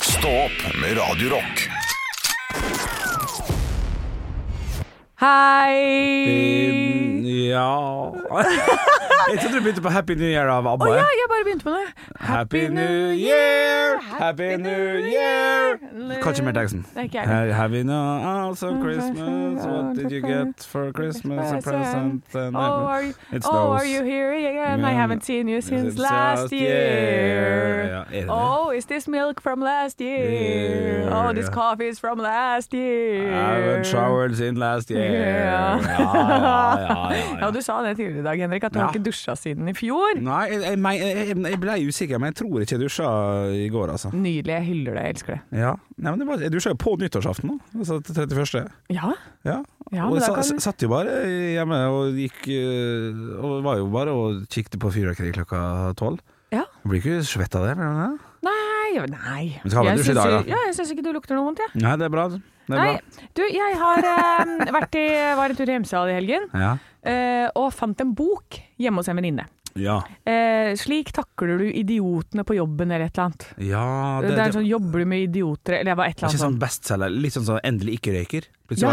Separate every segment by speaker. Speaker 1: Stå opp med Radio Rock.
Speaker 2: Hei!
Speaker 3: Mm, Ja Jeg trodde du begynte på Happy New Year av ABBA.
Speaker 2: Å ja,
Speaker 3: jeg.
Speaker 2: jeg bare begynte på det.
Speaker 3: Happy New Year, Happy New Year Kanskje mer teksten.
Speaker 2: Nei, ikke jeg.
Speaker 3: Hey, Have you no house of Christmas? What did you get for Christmas? A present eh, and
Speaker 2: Oh, are you,
Speaker 3: It
Speaker 2: oh,
Speaker 3: snows.
Speaker 2: are you here again? I
Speaker 3: Yeah.
Speaker 2: haven't seen you since
Speaker 3: Since
Speaker 2: last
Speaker 3: last year. Ja,
Speaker 2: year.
Speaker 3: er det det?
Speaker 2: Oh, is this milk from last year?
Speaker 3: Yeah.
Speaker 2: Oh, this coffee is from last year.
Speaker 3: I've showered since last year.
Speaker 2: Yeah.
Speaker 3: Ja, ja, ja, ja,
Speaker 2: Ja, du sa det tidligere i dag, Henrik, at du
Speaker 3: Ja.
Speaker 2: har ikke dusja siden i fjor.
Speaker 3: Nei, jeg, jeg, men- jeg, jeg ble usikker, men jeg tror ikke jeg dusja i går, altså.
Speaker 2: Nydelig. Jeg hyller det. Jeg elsker det.
Speaker 3: Ja. Nei, men det var, jeg dusja jo på nyttårsaften, da. altså til 31.
Speaker 2: Ja,
Speaker 3: Ja.
Speaker 2: ja
Speaker 3: og
Speaker 2: men
Speaker 3: jeg
Speaker 2: da
Speaker 3: sa,
Speaker 2: kan
Speaker 3: s- satt jo bare hjemme og gikk eh, Og var jo bare og kikket på fyrverkeri klokka tolv.
Speaker 2: Ja.
Speaker 3: Du Blir ikke svett av det? Blir du det?
Speaker 2: Nei, nei.
Speaker 3: Men skal ha
Speaker 2: Jeg
Speaker 3: dusj i
Speaker 2: syns
Speaker 3: dag,
Speaker 2: jo-
Speaker 3: da.
Speaker 2: Ja, jeg syns ikke du lukter noe vondt, jeg.
Speaker 3: Nei, det er bra. Det er
Speaker 2: Nei, du, jeg har eh, vært i, var en tur i Hemsedal i helgen
Speaker 3: bra. Ja.
Speaker 2: eh, og fant en bok hjemme hos en venninne.
Speaker 3: Ja.
Speaker 2: Eh, slik takler du idiotene på jobben, eller et eller annet.
Speaker 3: ja
Speaker 2: Det,
Speaker 3: det,
Speaker 2: er en sånn 'jobber du med idioter', eller det var et
Speaker 3: det er
Speaker 2: eller
Speaker 3: ikke
Speaker 2: annet sånt.
Speaker 3: sånn bestselger. Litt sånn som Endelig ikke røyker. Plutselig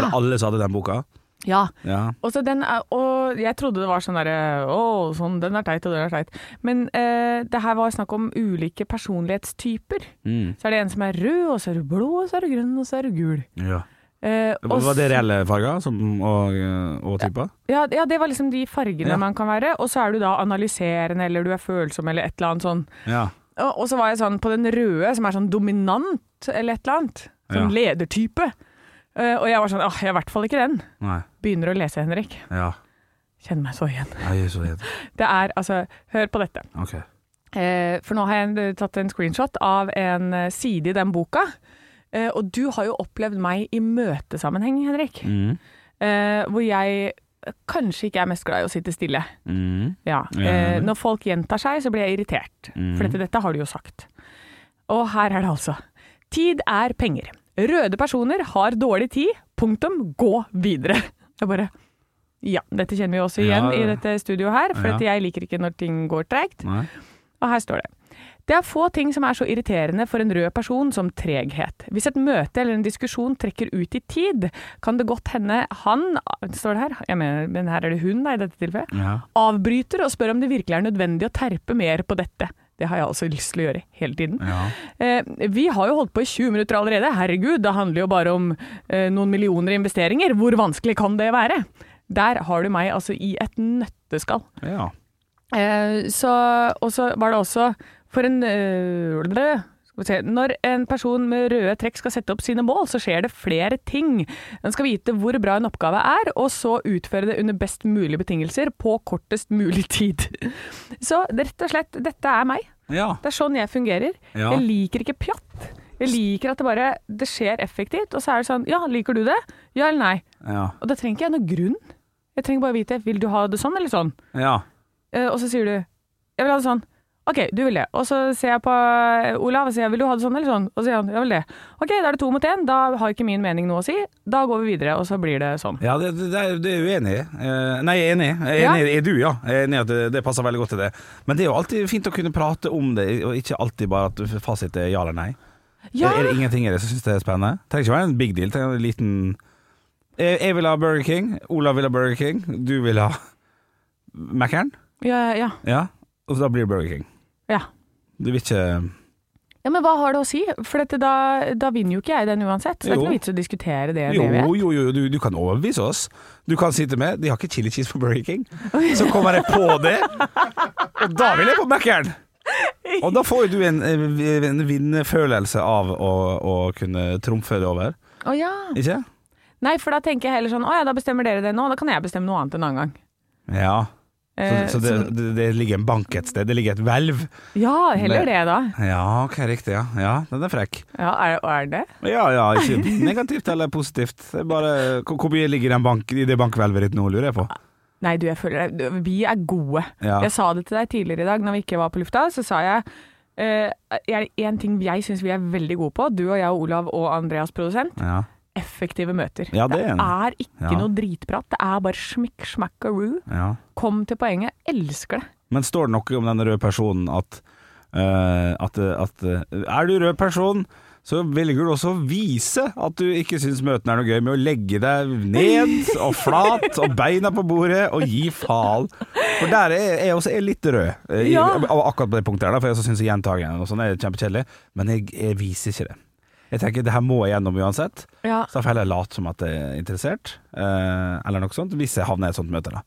Speaker 2: Ja.
Speaker 3: var det alle som hadde den boka.
Speaker 2: sånn. Ja.
Speaker 3: Ja.
Speaker 2: Og, så den er, og jeg trodde det var sånn derre Å, sånn, den er teit, og den er teit. Men eh, det her var snakk om ulike personlighetstyper.
Speaker 3: Mm.
Speaker 2: Så er det en som er rød, og så er du blå, og så er du grønn, og så er du gul.
Speaker 3: ja.
Speaker 2: Eh, og
Speaker 3: Var det reelle farger som, og, og typer?
Speaker 2: Ja, ja, det var liksom de fargene
Speaker 3: Ja.
Speaker 2: man kan være. Og så er du da analyserende, eller du er følsom, eller et eller annet sånn.
Speaker 3: Ja.
Speaker 2: Og, og så var jeg sånn på den røde, som er sånn dominant, eller et eller annet. Sånn
Speaker 3: Ja.
Speaker 2: ledertype. Eh, og jeg var sånn, åh, jeg er i hvert fall ikke den.
Speaker 3: Nei.
Speaker 2: Begynner å lese, Henrik.
Speaker 3: Ja.
Speaker 2: Kjenner meg så igjen.
Speaker 3: Nei, jeg er så redd.
Speaker 2: Det er, altså, hør på dette.
Speaker 3: Ok.
Speaker 2: Eh, for nå har jeg en- tatt en screenshot av en eh, side i den boka. Eh, og du har jo opplevd meg i møtesammenheng, Henrik.
Speaker 3: Mm.
Speaker 2: Eh, hvor jeg eh, kanskje ikke er mest glad i å sitte stille.
Speaker 3: Mm.
Speaker 2: Ja.
Speaker 3: Ja. Mm.
Speaker 2: Eh, når folk gjentar seg, så blir jeg irritert. For dette, dette har du jo sagt. Og her er det altså. Tid er penger. Røde personer har dårlig tid. Punktum. Gå videre. Jeg bare Ja, dette kjenner vi også igjen
Speaker 3: Ja, ja.
Speaker 2: i dette studioet her, for
Speaker 3: Ja.
Speaker 2: at jeg liker ikke når ting går tregt.
Speaker 3: Nei.
Speaker 2: Og her står det. Det er få ting som er så irriterende for en rød person som treghet. Hvis et møte eller en diskusjon trekker ut i tid, kan det godt hende han Står det her? Jeg mener, men her er det hun, da, i dette tilfellet
Speaker 3: Ja.
Speaker 2: avbryter og spør om det virkelig er nødvendig å terpe mer på dette. Det har jeg altså lyst til å gjøre hele tiden.
Speaker 3: Ja.
Speaker 2: Eh, vi har jo holdt på i 20 minutter allerede. Herregud, det handler jo bare om eh, noen millioner i investeringer. Hvor vanskelig kan det være? Der har du meg altså i et nøtteskall.
Speaker 3: ja.
Speaker 2: Eh, så, og så var det også for en eh, blø- skal vi se, Når en person med røde trekk skal sette opp sine mål, så skjer det flere ting. Den skal vite hvor bra en oppgave er, og så utføre det under best mulige betingelser på kortest mulig tid. Så det- rett og slett, dette er meg.
Speaker 3: ja.
Speaker 2: Det er sånn jeg fungerer.
Speaker 3: Ja.
Speaker 2: Jeg liker ikke pjatt. Jeg liker at det bare det skjer effektivt, og så er det sånn Ja, liker du det? Ja eller nei?
Speaker 3: Ja.
Speaker 2: Og da trenger ikke jeg noen grunn. Jeg trenger bare vite Vil du ha det sånn eller sånn?
Speaker 3: Ja.
Speaker 2: Eh, og så sier du Jeg vil ha det sånn. OK, du vil det. Og så ser jeg på eh, Olav og sier jeg, vil du ha det sånn eller sånn? Og så sier han jeg vil det. OK, da er det to mot én. Da har ikke min mening noe å si. Da går vi videre, og så blir det sånn.
Speaker 3: Ja, det, det, det er- det er jeg uenig i. Eh, Nei, jeg er enig. Jeg er,
Speaker 2: Ja.
Speaker 3: enig, er du, ja. Jeg er enig i at det, det passer veldig godt til det. Men det er jo alltid fint å kunne prate om det, og ikke alltid bare at fasit er ja eller nei.
Speaker 2: Ja!
Speaker 3: Er, er det ingenting i det som syns det er spennende? Trenger ikke være en big deal. Trenger en liten jeg, jeg vil ha Burger King. Olav vil ha Burger King. Du vil ha Mækkern.
Speaker 2: Ja, ja.
Speaker 3: Ja. Og så da blir det Burger King.
Speaker 2: ja.
Speaker 3: Du vil ikke
Speaker 2: ja men hva har det å si? For dette, da, da vinner jo ikke jeg den uansett. Så det er
Speaker 3: Jo.
Speaker 2: ikke noe vits å diskutere det.
Speaker 3: Jo,
Speaker 2: det vi er.
Speaker 3: jo, jo, du, du kan overbevise oss. Du kan sitte med De har ikke chili cheese på Burger King. Så kommer jeg på det, og da vil jeg på Mækkern. Og da får jo du en, eh, en vinnerfølelse av å, å kunne trumfe det over,
Speaker 2: Å ja.
Speaker 3: ikke?
Speaker 2: Nei, for da tenker jeg heller sånn Å ja, da bestemmer dere det nå. Da kan jeg bestemme noe annet en annen gang.
Speaker 3: Ja. Så,
Speaker 2: Eh,
Speaker 3: så det,
Speaker 2: så-
Speaker 3: det, det ligger en bank et sted, det ligger et hvelv.
Speaker 2: ja, heller det, da.
Speaker 3: Ja, ok, riktig, ja. ja. Den er frekk.
Speaker 2: Ja, er, er det?
Speaker 3: Ja ja, ikke negativt eller positivt. Det er bare Hvor hvor mye ligger i den bank, i det bankhvelvet ditt nå, lurer jeg på.
Speaker 2: Nei, du, jeg føler det. Vi er gode.
Speaker 3: Ja.
Speaker 2: Jeg sa det til deg tidligere i dag når vi ikke var på lufta. Så sa jeg eh, er det én ting jeg syns vi er veldig gode på, du og jeg og Olav og Andreas produsent,
Speaker 3: Ja.
Speaker 2: effektive møter.
Speaker 3: Ja, det er en-
Speaker 2: er ikke
Speaker 3: ja.
Speaker 2: noe dritprat. Det er bare smikk, smakkaroo.
Speaker 3: ja.
Speaker 2: Kom til poenget. Elsker det.
Speaker 3: Men står det noe om den røde personen at, eh, at, at eh, Er du rød person, så velger du også å vise at du ikke syns møtene er noe gøy, med å legge deg ned og flat og beina på bordet og gi faen. For der er jeg også er litt rød, eh, i,
Speaker 2: Ja.
Speaker 3: av akkurat på det punktet her, da, for jeg syns gjentagende og sånn er kjempekjedelig, men jeg, jeg viser ikke det. Jeg tenker det her må jeg gjennom uansett,
Speaker 2: Ja.
Speaker 3: så da får jeg heller late som at jeg er interessert, eh, eller noe sånt, hvis jeg havner i et sånt møte, da.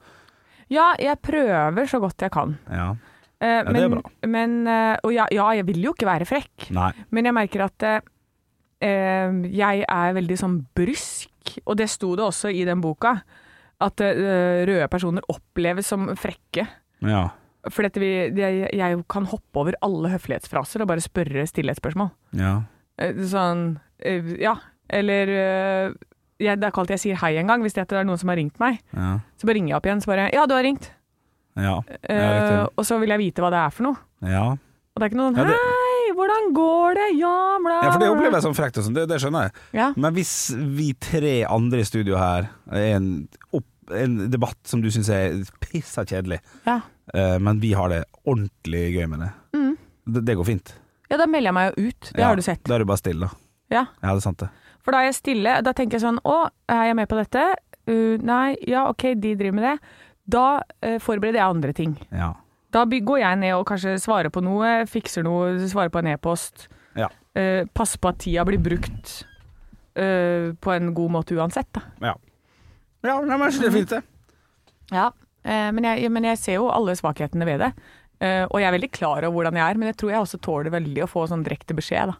Speaker 2: ja, jeg prøver så godt jeg kan.
Speaker 3: Ja.
Speaker 2: Eh,
Speaker 3: det er
Speaker 2: men, men eh, Og ja, ja, jeg vil jo ikke være frekk,
Speaker 3: Nei.
Speaker 2: men jeg merker at eh, eh, jeg er veldig sånn brysk, og det sto det også i den boka, at eh, røde personer oppleves som frekke.
Speaker 3: Ja.
Speaker 2: For dette vi, jeg, jeg kan hoppe over alle høflighetsfraser og bare spørre stille et spørsmål.
Speaker 3: Ja.
Speaker 2: Eh, Sånn eh, Ja. Eller eh, jeg, Det er ikke alltid jeg sier hei engang. Hvis det er noen som har ringt meg,
Speaker 3: Ja.
Speaker 2: så bare ringer jeg opp igjen. Så bare Ja, du har ringt.
Speaker 3: Ja.
Speaker 2: Eh,
Speaker 3: Ja, riktig.
Speaker 2: og så vil jeg vite hva det er for noe.
Speaker 3: ja.
Speaker 2: Og det er ikke noe
Speaker 3: Ja,
Speaker 2: sånn
Speaker 3: det-
Speaker 2: Hei, hvordan går det? Ja, bla,
Speaker 3: Ja,
Speaker 2: bla,
Speaker 3: for det
Speaker 2: bla».
Speaker 3: opplever jeg som frekt og sånn, det, det skjønner jeg.
Speaker 2: Ja.
Speaker 3: Men hvis vi tre andre i studio her er en, opp, en debatt som du syns er pissa kjedelig,
Speaker 2: Ja.
Speaker 3: eh, men vi har det ordentlig gøy med det,
Speaker 2: mm.
Speaker 3: det, det går fint.
Speaker 2: ja, da melder jeg meg jo ut. Det
Speaker 3: Ja,
Speaker 2: har du sett.
Speaker 3: Da er du bare stille, da.
Speaker 2: Ja.
Speaker 3: Ja, det er sant, det.
Speaker 2: For da er jeg stille. Da tenker jeg sånn Å, er jeg med på dette? Uh, nei, ja, OK, de driver med det. Da eh, forbereder jeg andre ting.
Speaker 3: Ja.
Speaker 2: Da by- går jeg ned og kanskje svarer på noe, fikser noe, svarer på en e-post.
Speaker 3: Ja.
Speaker 2: Eh, passer på at tida blir brukt eh, på en god måte uansett, da.
Speaker 3: Ja, ja nei, men det er fint, det.
Speaker 2: Ja. Eh, men, jeg, men jeg ser jo alle svakhetene ved det. Eh, og jeg er veldig klar over hvordan jeg er, men jeg tror jeg også tåler veldig å få sånn direkte beskjed, da.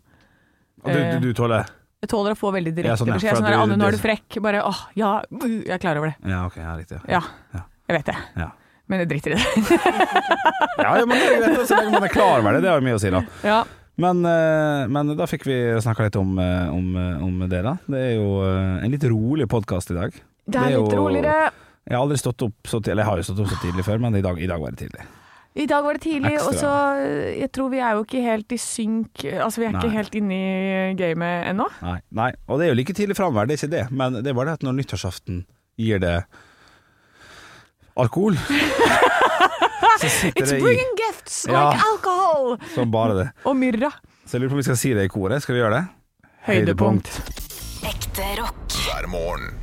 Speaker 3: Og du,
Speaker 2: Eh.
Speaker 3: du, du tåler det?
Speaker 2: Jeg tåler å få veldig direkte
Speaker 3: Ja, sånn, ja,
Speaker 2: beskjed.
Speaker 3: for
Speaker 2: Sånn der,
Speaker 3: at du-
Speaker 2: Anne, nå er
Speaker 3: du-
Speaker 2: du frekk. Bare åh, ja, uh, jeg er klar over det.
Speaker 3: Ja, ok, ja, riktig.
Speaker 2: Ja.
Speaker 3: Ja.
Speaker 2: Jeg vet det.
Speaker 3: Ja.
Speaker 2: Men jeg driter i det.
Speaker 3: Ja, ja, men det er greit, så lenge man er klar over det. Det har jo mye å si, da.
Speaker 2: ja.
Speaker 3: Men, eh, men da fikk vi snakka litt om, eh, om, eh, om det, da. Det er jo eh, en litt rolig podkast i dag.
Speaker 2: Det er litt roligere.
Speaker 3: Jeg har aldri stått opp så tidlig, eller jeg har jo stått opp så tidlig før, men i dag, i dag var det tidlig.
Speaker 2: I dag var det tidlig,
Speaker 3: Ekstra.
Speaker 2: og så eh, Jeg tror vi er jo ikke helt i synk Altså, vi er
Speaker 3: Nei.
Speaker 2: ikke helt inne i eh, gamet ennå.
Speaker 3: Nei, nei. Og det er jo like tidlig framover, det er ikke det, men det er bare det at når nyttårsaften gir det alkohol, så sitter
Speaker 2: It's
Speaker 3: det i
Speaker 2: bringing gifts
Speaker 3: Ja.
Speaker 2: like alcohol!
Speaker 3: som bare det.
Speaker 2: Og myrra.
Speaker 3: Så jeg lurer på om vi skal si det i koret. Skal vi gjøre det?
Speaker 2: Høydepunkt.
Speaker 4: Ekte rock.
Speaker 1: hver morgen.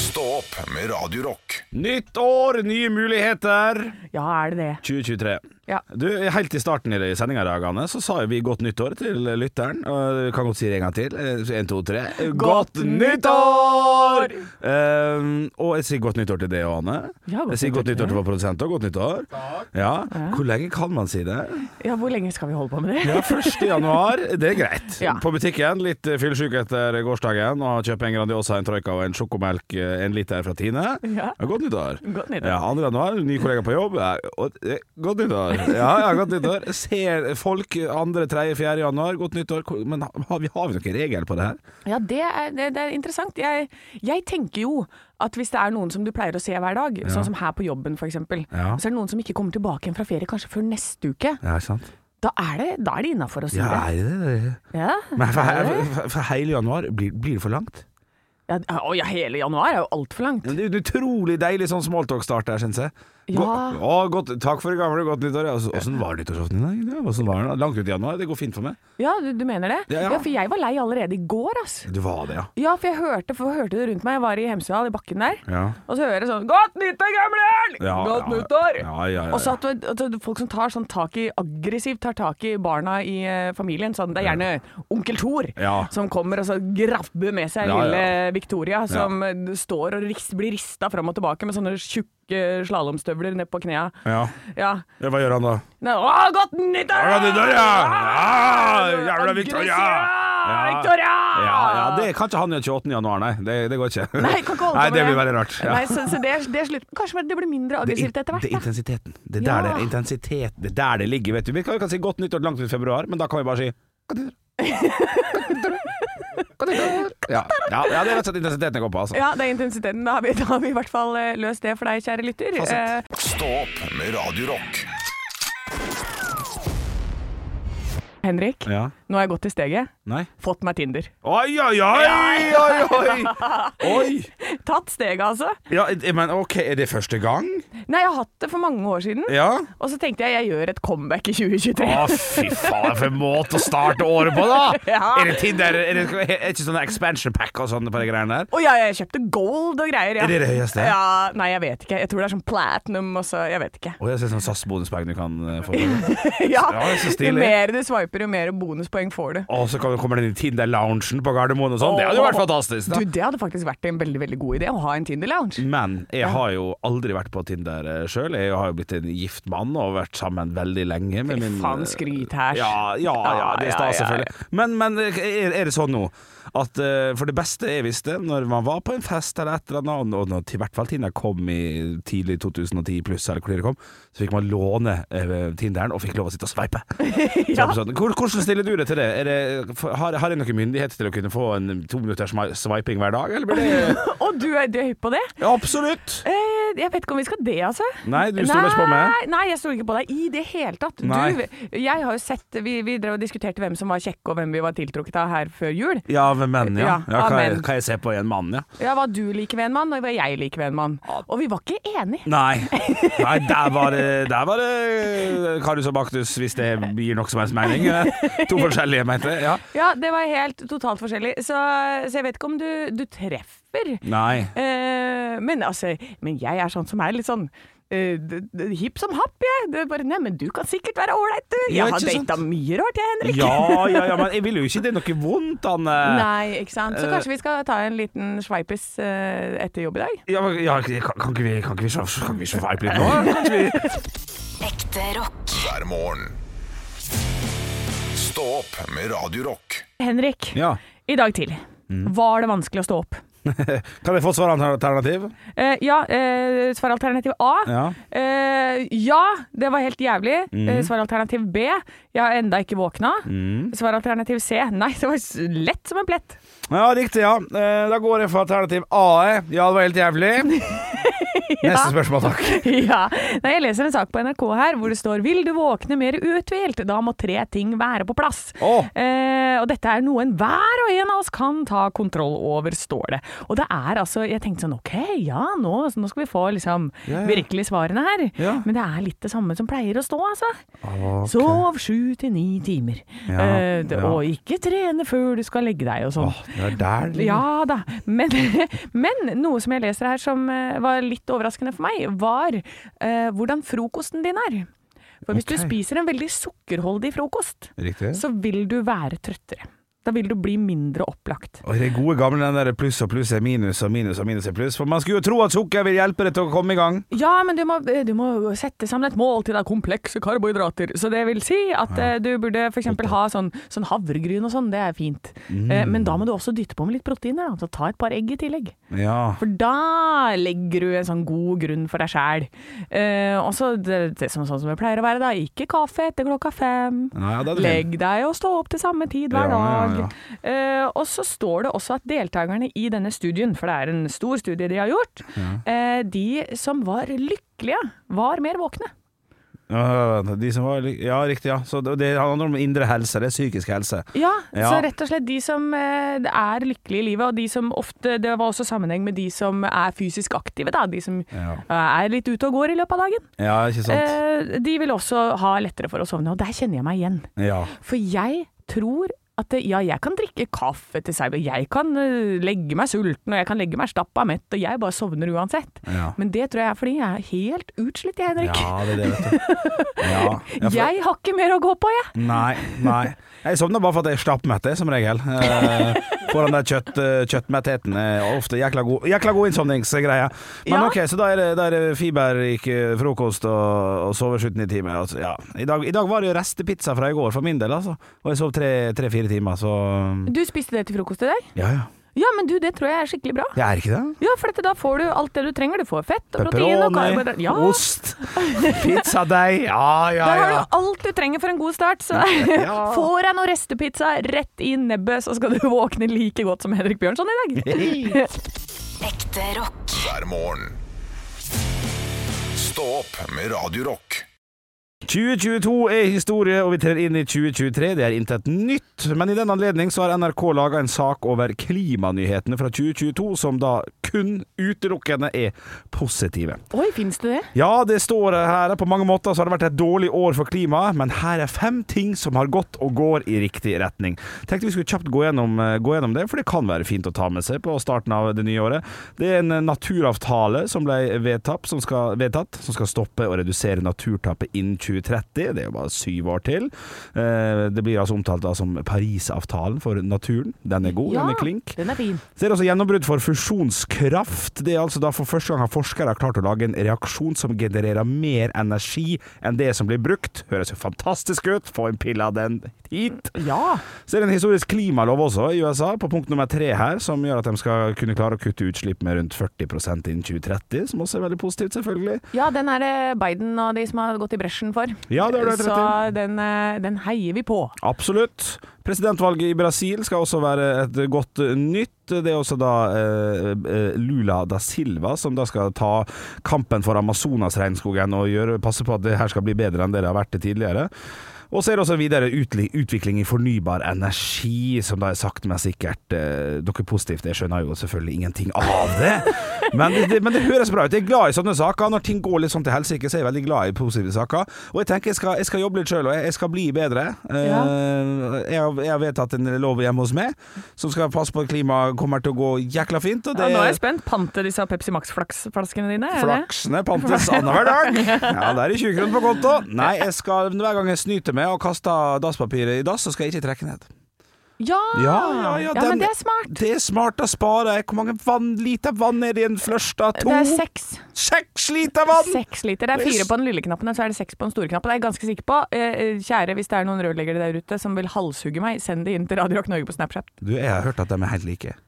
Speaker 1: Stå opp med Radio Rock.
Speaker 3: Nytt år, nye muligheter!
Speaker 2: Ja, er det det?
Speaker 3: 2023.
Speaker 2: Ja.
Speaker 3: Du, helt i starten i sendinga i dag, Anne, så sa jo vi godt nyttår til lytteren. Og vi kan godt si det en gang til. Én, to, tre.
Speaker 2: Godt nyttår!
Speaker 3: Ehm, og jeg sier godt nyttår til deg òg, Anne.
Speaker 2: Ja, godt
Speaker 3: jeg sier
Speaker 2: nyttår
Speaker 3: godt
Speaker 2: til
Speaker 3: nyttår til vår produsent òg. Godt nyttår. Ja. Hvor lenge kan man si det?
Speaker 2: Ja, hvor lenge skal vi holde på med det?
Speaker 3: Ja, 1. januar, det er greit.
Speaker 2: Ja.
Speaker 3: På butikken, litt eh, fyllesyk etter gårsdagen, og kjøpe en Grandiosa, en Troika og en sjokomelk, eh, en liter fra Tine.
Speaker 2: Ja.
Speaker 3: Godt nyttår.
Speaker 2: Godt nyttår.
Speaker 3: Ja, 2. januar, ny kollega på jobb. Ja, og, eh, godt nyttår. Ja, ja, godt nyttår. Ser folk 2., 3., 4. januar, godt nyttår. Hvor- Men har vi, har vi noen regel på det her?
Speaker 2: Ja, det er, det, det er interessant. Jeg, jeg tenker jo at hvis det er noen som du pleier å se hver dag, sånn som her på jobben f.eks.,
Speaker 3: Ja.
Speaker 2: så er det noen som ikke kommer tilbake igjen fra ferie kanskje før neste uke,
Speaker 3: Ja, ikke sant?
Speaker 2: da er det, da er det innafor å si
Speaker 3: Ja, er det det?
Speaker 2: det. Ja.
Speaker 3: Men for, for, for hele januar, blir, blir det for langt?
Speaker 2: Ja, å ja, hele januar er jo altfor langt.
Speaker 3: Men Det er en utrolig deilig sånn smalltalk-start der, syns jeg.
Speaker 2: Ja.
Speaker 3: Gå- Å, godt, takk for det gamle, godt nyttår. ja. Altså, Åssen var nyttårsaften i dag? Ja, hvordan var den? Langt ut i januar, det går fint for meg.
Speaker 2: Ja, du, du mener det?
Speaker 3: Ja, ja.
Speaker 2: for jeg var lei allerede i går, ass.
Speaker 3: Du var det, ja.
Speaker 2: Ja, for jeg hørte, for jeg hørte det rundt meg. Jeg var i Hemsedal, i bakken der.
Speaker 3: Ja,
Speaker 2: Og så hører jeg sånn 'Godt nyttår, gamler'n!'
Speaker 3: Ja,
Speaker 2: 'Godt
Speaker 3: ja,
Speaker 2: nyttår!'
Speaker 3: ja, ja, ja, ja.
Speaker 2: Og så at du- at du- folk som tar sånn tak i aggressivt tar tak i barna i eh, familien. Sånn, det er gjerne onkel Thor
Speaker 3: Ja.
Speaker 2: som kommer og så grabber med seg
Speaker 3: Ja, ja.
Speaker 2: lille Victoria, som eh, står og rist, blir rista fram og tilbake med sånne tjukke slalåmstøvler ned på knea.
Speaker 3: ja.
Speaker 2: Ja.
Speaker 3: ja hva gjør han da?
Speaker 2: Nei, Å, godt nyttår!
Speaker 3: Ja, godt nyttår, ja!
Speaker 2: Ah,
Speaker 3: Ja, jævla Victoria!
Speaker 2: Aggressiv,
Speaker 3: Ja.
Speaker 2: Victoria!
Speaker 3: Ja, ja, det kan ikke han gjøre 28. januar, nei. Det, det går ikke.
Speaker 2: Nei, kan ikke holde på
Speaker 3: Nei,
Speaker 2: med
Speaker 3: det blir veldig rart. Ja.
Speaker 2: Nei, så, så det, er, det er slutt. Kanskje det blir mindre
Speaker 3: Det er,
Speaker 2: aggressivt etter
Speaker 3: in- det
Speaker 2: hvert.
Speaker 3: er
Speaker 2: da.
Speaker 3: intensiteten. Det er
Speaker 2: Ja.
Speaker 3: der det er intensitet. Det er der det ligger, vet du. Vi kan, vi kan si godt nyttår langt ut i februar, men da kan vi bare si godt nyttår. Godt nyttår. Ja, ja, ja, det er rett og slett intensiteten jeg går på, altså.
Speaker 2: Ja, det er intensiteten. Da har vi, da har vi i hvert fall eh, løst det for deg, kjære lytter.
Speaker 3: Fasit.
Speaker 2: Eh,
Speaker 1: Stå opp med Radio Rock.
Speaker 2: Eh, Henrik,
Speaker 3: Ja.
Speaker 2: nå har jeg gått i steget.
Speaker 3: Nei.
Speaker 2: Fått meg Tinder.
Speaker 3: Oi, oi, oi! oi, oi. oi.
Speaker 2: Tatt steget, altså.
Speaker 3: Ja, jeg- men OK, er det første gang?
Speaker 2: Nei, jeg har hatt det for mange år siden.
Speaker 3: Ja. Ah.
Speaker 2: Og så tenkte jeg jeg gjør et comeback i 2023.
Speaker 3: Å, fy faen, for en måte å starte året på, da!
Speaker 2: Ja.
Speaker 3: Er det Tinder? Er det er det ikke sånne expansion pack og sånn på de greiene der?
Speaker 2: Å ja, jeg kjøpte gold og greier. Ja.
Speaker 3: Er det det høyeste?
Speaker 2: Ja, nei, jeg vet ikke. Jeg tror det er sånn platinum og så Jeg vet ikke.
Speaker 3: Å, jeg ser sånn SAS-bonuspack du kan eh, få. Å,
Speaker 2: ja,
Speaker 3: Ja, det er så
Speaker 2: jo
Speaker 3: stilig.
Speaker 2: mer du swiper, jo mer bonuspoeng får du.
Speaker 3: så kan- kommer den inn i Tinder-loungen på Gardermoen og sånn. Det hadde jo vært fantastisk.
Speaker 2: Du,
Speaker 3: da
Speaker 2: Det hadde faktisk vært en veldig veldig god idé, å ha en Tinder-lounge.
Speaker 3: Men jeg har jo aldri vært på Tinder sjøl. Jeg har jo blitt en gift mann og vært sammen veldig lenge med min
Speaker 2: Faen, skryt her.
Speaker 3: eh, Ja, ja, ja, det er
Speaker 2: Ja,
Speaker 3: stas,
Speaker 2: ja, ja, ja.
Speaker 3: selvfølgelig. Men, men er, er det sånn nå at eh, For det beste jeg visste, når man var på en fest eller et eller annet, og når, i hvert fall Tinder kom i tidlig 2010 pluss, eller hvor det kom, så fikk man låne eh, Tinderen og fikk lov å sitte og sveipe. Så på sånn, hvor- Hvordan stiller du deg til det? Er det for- har, har jeg noen myndighet til å kunne få en to minutters swi- swiping hver dag, eller blir det
Speaker 2: Og du er, du er hypp på det?
Speaker 3: ja, Absolutt!
Speaker 2: Eh, jeg vet ikke om vi skal det, altså.
Speaker 3: Nei, du stoler ikke på meg.
Speaker 2: Nei, Nei, jeg stoler ikke på deg i det hele tatt.
Speaker 3: Nei.
Speaker 2: Du, jeg har jo sett Vi, vi drev og diskuterte hvem som var kjekke og hvem vi var tiltrukket av her før jul.
Speaker 3: Ja, men menn, ja.
Speaker 2: Ja,
Speaker 3: ja, hva,
Speaker 2: amen.
Speaker 3: jeg, hva jeg ser på i en mann, ja.
Speaker 2: Ja, Hva du liker ved en mann, og hva jeg liker ved en mann. Og vi var ikke enige.
Speaker 3: Nei, Nei der var det, der var det Karius og Baktus, hvis det gir nok som helst mening. Eh, To forskjellige, mente jeg. Ja.
Speaker 2: Ja, det var helt totalt forskjellig. Så, så jeg vet ikke om du, du treffer.
Speaker 3: Nei.
Speaker 2: Eh, men altså, men jeg er sånn som er litt sånn eh, d- d- hipp som happ, jeg. Det er bare, nei, men du kan sikkert være ålreit, du. Jeg
Speaker 3: Ja,
Speaker 2: har
Speaker 3: ikke sant?
Speaker 2: data mye rart, jeg, Henrik.
Speaker 3: Ja, ja, ja, men jeg vil jo ikke det er noe vondt, Anne.
Speaker 2: Nei, ikke sant.
Speaker 3: Eh.
Speaker 2: Så kanskje vi skal ta en liten sveipis eh, etter jobb i dag.
Speaker 3: Ja, men- ja, kan, kan ikke vi Kan ikke vi, så- kan ikke vi så vibe litt nå? Kan ikke vi
Speaker 4: Ekte rock.
Speaker 1: hver morgen. Stå opp med Radio Rock.
Speaker 2: Henrik,
Speaker 3: Ja. Mm.
Speaker 2: i dag tidlig var det vanskelig å stå opp.
Speaker 3: Kan jeg få svaralternativ?
Speaker 2: Eh, ja, eh, svaralternativ A.
Speaker 3: Ja. Mm.
Speaker 2: Eh, ja, det var helt jævlig. Eh, svaralternativ B. Jeg har enda ikke våkna.
Speaker 3: Mm.
Speaker 2: Svaralternativ C. Nei, det var s- lett som en plett.
Speaker 3: Ja, riktig, ja. Eh, Da går jeg for alternativ A. jeg. Ja, det var helt jævlig. Neste spørsmål, takk.
Speaker 2: ja. Nei, jeg leser en sak på NRK her hvor det står 'Vil du våkne mer uthvilt?' Da må tre ting være på plass.
Speaker 3: Åh.
Speaker 2: Eh, og dette er noe enhver og en av oss kan ta kontroll over, står det. Og det er altså Jeg tenkte sånn OK, ja, nå, nå skal vi få liksom
Speaker 3: Ja, ja.
Speaker 2: virkelig svarene her.
Speaker 3: Ja.
Speaker 2: Men det er litt det samme som pleier å stå, altså. Sov sju til ni timer.
Speaker 3: Ja,
Speaker 2: Eh, det-
Speaker 3: ja.
Speaker 2: Og ikke trene før du skal legge deg og sånn.
Speaker 3: Åh, det er der det ligger.
Speaker 2: Ja da. Men, men noe som jeg leser her som eh, var litt overraskende for meg, var eh, hvordan frokosten din er. For hvis
Speaker 3: Ok.
Speaker 2: du spiser en veldig sukkerholdig frokost,
Speaker 3: Riktig.
Speaker 2: så vil du være trøttere. Da vil du bli mindre opplagt.
Speaker 3: Og det gode gamle den der pluss og pluss er minus og minus og minus er pluss. For man skulle jo tro at sukker vil hjelpe deg til å komme i gang.
Speaker 2: Ja, men du må, du må sette sammen et måltid av komplekse karbohydrater. Så det vil si at eh, du burde f.eks. ha sånn, sånn havregryn og sånn, det er fint. Eh, men da må du også dytte på med litt proteiner, da. Så ta et par egg i tillegg.
Speaker 3: Ja.
Speaker 2: For da legger du en sånn god grunn for deg sjæl. Eh, og så det, det som, sånn som det pleier å være, da. Ikke kaffe etter klokka fem.
Speaker 3: Nei, ja, det er det.
Speaker 2: Legg deg og stå opp til samme tid hver
Speaker 3: Ja,
Speaker 2: dag.
Speaker 3: ja, ja.
Speaker 2: Eh, og så står det også at deltakerne i denne studien, for det er en stor studie de har gjort, eh, de som var lykkelige, var mer våkne.
Speaker 3: Ja, De som var, ja, riktig, ja. Så det det handler om indre helse. Det er psykisk helse.
Speaker 2: Ja,
Speaker 3: Ja.
Speaker 2: så rett og slett de som eh, er lykkelige i livet, og de som ofte Det var også sammenheng med de som er fysisk aktive, da. De som
Speaker 3: Ja,
Speaker 2: eh, er litt ute og går i løpet av dagen.
Speaker 3: ja ikke sant?
Speaker 2: Eh, de vil også ha lettere for å sovne, og der kjenner jeg meg igjen.
Speaker 3: Ja.
Speaker 2: For jeg tror at det- ja, jeg kan drikke kaffe til seg, og jeg kan eh, legge meg sulten, og jeg kan legge meg stappa mett, og jeg bare sovner uansett.
Speaker 3: Ja.
Speaker 2: Men det tror jeg er fordi jeg er helt utslitt, jeg, Henrik.
Speaker 3: Ja, det er det, vet du. Ja. Ja, for-
Speaker 2: Jeg har ikke mer å gå på, jeg.
Speaker 3: Nei, nei. Jeg sovner bare for at jeg er stappmett, det, som regel. Eh, For den der kjøtt, eh, kjøttmettheten er ofte jækla god, jækla god innsovningsgreie. Men
Speaker 2: Ja.
Speaker 3: ok, så da er det, da er det fiberrik eh, frokost og, og sove 17 timer. Altså, ja. I, dag, I dag var det jo restepizza fra i går, for min del, altså. Og jeg sov tre- tre-fire timer, så
Speaker 2: Du spiste det til frokost i dag?
Speaker 3: Ja, ja.
Speaker 2: Ja, men du, det tror jeg er skikkelig bra.
Speaker 3: Jeg er ikke det.
Speaker 2: Ja, for dette, da får du alt det du trenger. Du får fett og protein og
Speaker 3: Pepperoni,
Speaker 2: karbohydrater. Ja,
Speaker 3: ost, pizzadeig. Ja, ja,
Speaker 2: der har
Speaker 3: ja.
Speaker 2: du alt du trenger for en god start. Så
Speaker 3: Ja.
Speaker 2: får jeg noe restepizza rett i nebbet, så skal du våkne like godt som Henrik Bjørnson i dag.
Speaker 4: Ekte rock.
Speaker 1: hver morgen. Stå opp med Radio Rock.
Speaker 3: 2022 er historie, og vi trer inn i 2023. Det er intet nytt. Men i den anledning så har NRK laga en sak over klimanyhetene fra 2022, som da kun utelukkende er positive.
Speaker 2: Oi, fins det det?
Speaker 3: Ja, det står her. På mange måter så har det vært et dårlig år for klimaet, men her er fem ting som har gått og går i riktig retning. Tenkte vi skulle kjapt gå gjennom, eh, gå gjennom det, for det kan være fint å ta med seg på starten av det nye året. Det er en eh, naturavtale som ble vedtatt, som skal, vedtatt, som skal stoppe og redusere naturtapet innen 2030. Det er jo bare syv år til. Eh, Det blir altså omtalt da som Parisavtalen for naturen. Den er god, den er klink.
Speaker 2: den er fin.
Speaker 3: Så er det også gjennombrudd for fusjonskraft. Det er altså da for første gang har forskere klart å lage en reaksjon som genererer mer energi enn det som blir brukt. Høres jo fantastisk ut. Få en pille av den hit.
Speaker 2: Ja.
Speaker 3: Så er det en historisk klimalov også i USA, på punkt nummer tre her, som gjør at de skal kunne klare å kutte utslipp med rundt 40 innen 2030, som også er veldig positivt, selvfølgelig.
Speaker 2: ja, den er det Biden og de som har gått i bresjen for.
Speaker 3: Ja, det har du helt rett i.
Speaker 2: Så den, eh, den heier vi på.
Speaker 3: Absolutt. Presidentvalget i Brasil skal også være et godt nytt. Det er også da eh, eh, Lula da Silva som da skal ta kampen for Amazonas-regnskogen og gjøre, passe på at det her skal bli bedre enn det det har vært tidligere. Og så er det også videre utli- utvikling i fornybar energi, som da er sakte, men sikkert eh, Dere er positivt, jeg skjønner jo selvfølgelig ingenting av det. Men det, det, men det høres bra ut. Jeg er glad i sånne saker. Når ting går litt sånn til helsike, så er jeg veldig glad i positive saker. Og jeg tenker jeg skal, jeg skal jobbe litt sjøl, og jeg, jeg skal bli bedre. Eh,
Speaker 2: Ja.
Speaker 3: jeg, har- jeg har vedtatt en lov hjemme hos meg som skal passe på at klimaet kommer til å gå jækla fint. Og
Speaker 2: Ja,
Speaker 3: det
Speaker 2: nå er jeg spent. Pante disse Pepsi Max-flaskene dine? er det det?
Speaker 3: Flaksene pantes annenhver dag. Ja, der er 20 kroner på konto. Nei, jeg skal, hver gang jeg snyter meg og kaster dasspapiret i dass, så skal jeg ikke trekke ned.
Speaker 2: Ja!
Speaker 3: Ja, ja, ja, den-
Speaker 2: men det er smart.
Speaker 3: Det er smart, da sparer jeg. Hvor mange vann, liter vann er det i en flush, da? To?
Speaker 2: Det er seks.
Speaker 3: Seks liter vann!
Speaker 2: Seks liter. Det er fire på den lille knappen, og så er det seks på den store knappen. Det er jeg ganske sikker på. Eh, kjære, hvis det er noen rørleggere der ute som vil halshugge meg, send det inn til Radio Rock Norge på Snapchat.
Speaker 3: Du, jeg har hørt at de er helt like.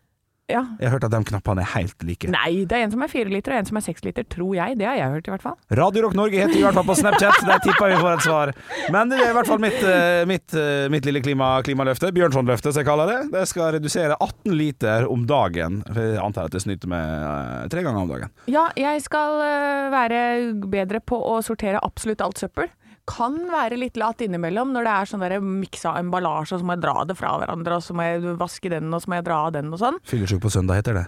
Speaker 2: Ja.
Speaker 3: Jeg har hørt at de knappene er helt like.
Speaker 2: Nei, det er en som er fire liter og en som er seks liter, tror jeg. Det har jeg hørt i hvert fall.
Speaker 3: Radio Rock Norge heter vi i hvert fall på Snapchat, der tipper vi får et svar. Men det er i hvert fall mitt, eh, mitt, eh, mitt lille klima, klimaløfte, Bjørnson-løftet som jeg kaller det. Det skal redusere 18 liter om dagen. For Jeg antar at jeg snyter med eh, tre ganger om dagen.
Speaker 2: Ja, jeg skal eh, være bedre på å sortere absolutt alt søppel. Kan være litt lat innimellom når det er sånn der miksa emballasje, og så må jeg dra det fra hverandre, og så må jeg vaske den, og så må jeg dra av den, og sånn.
Speaker 3: Fyllesyk på søndag heter det.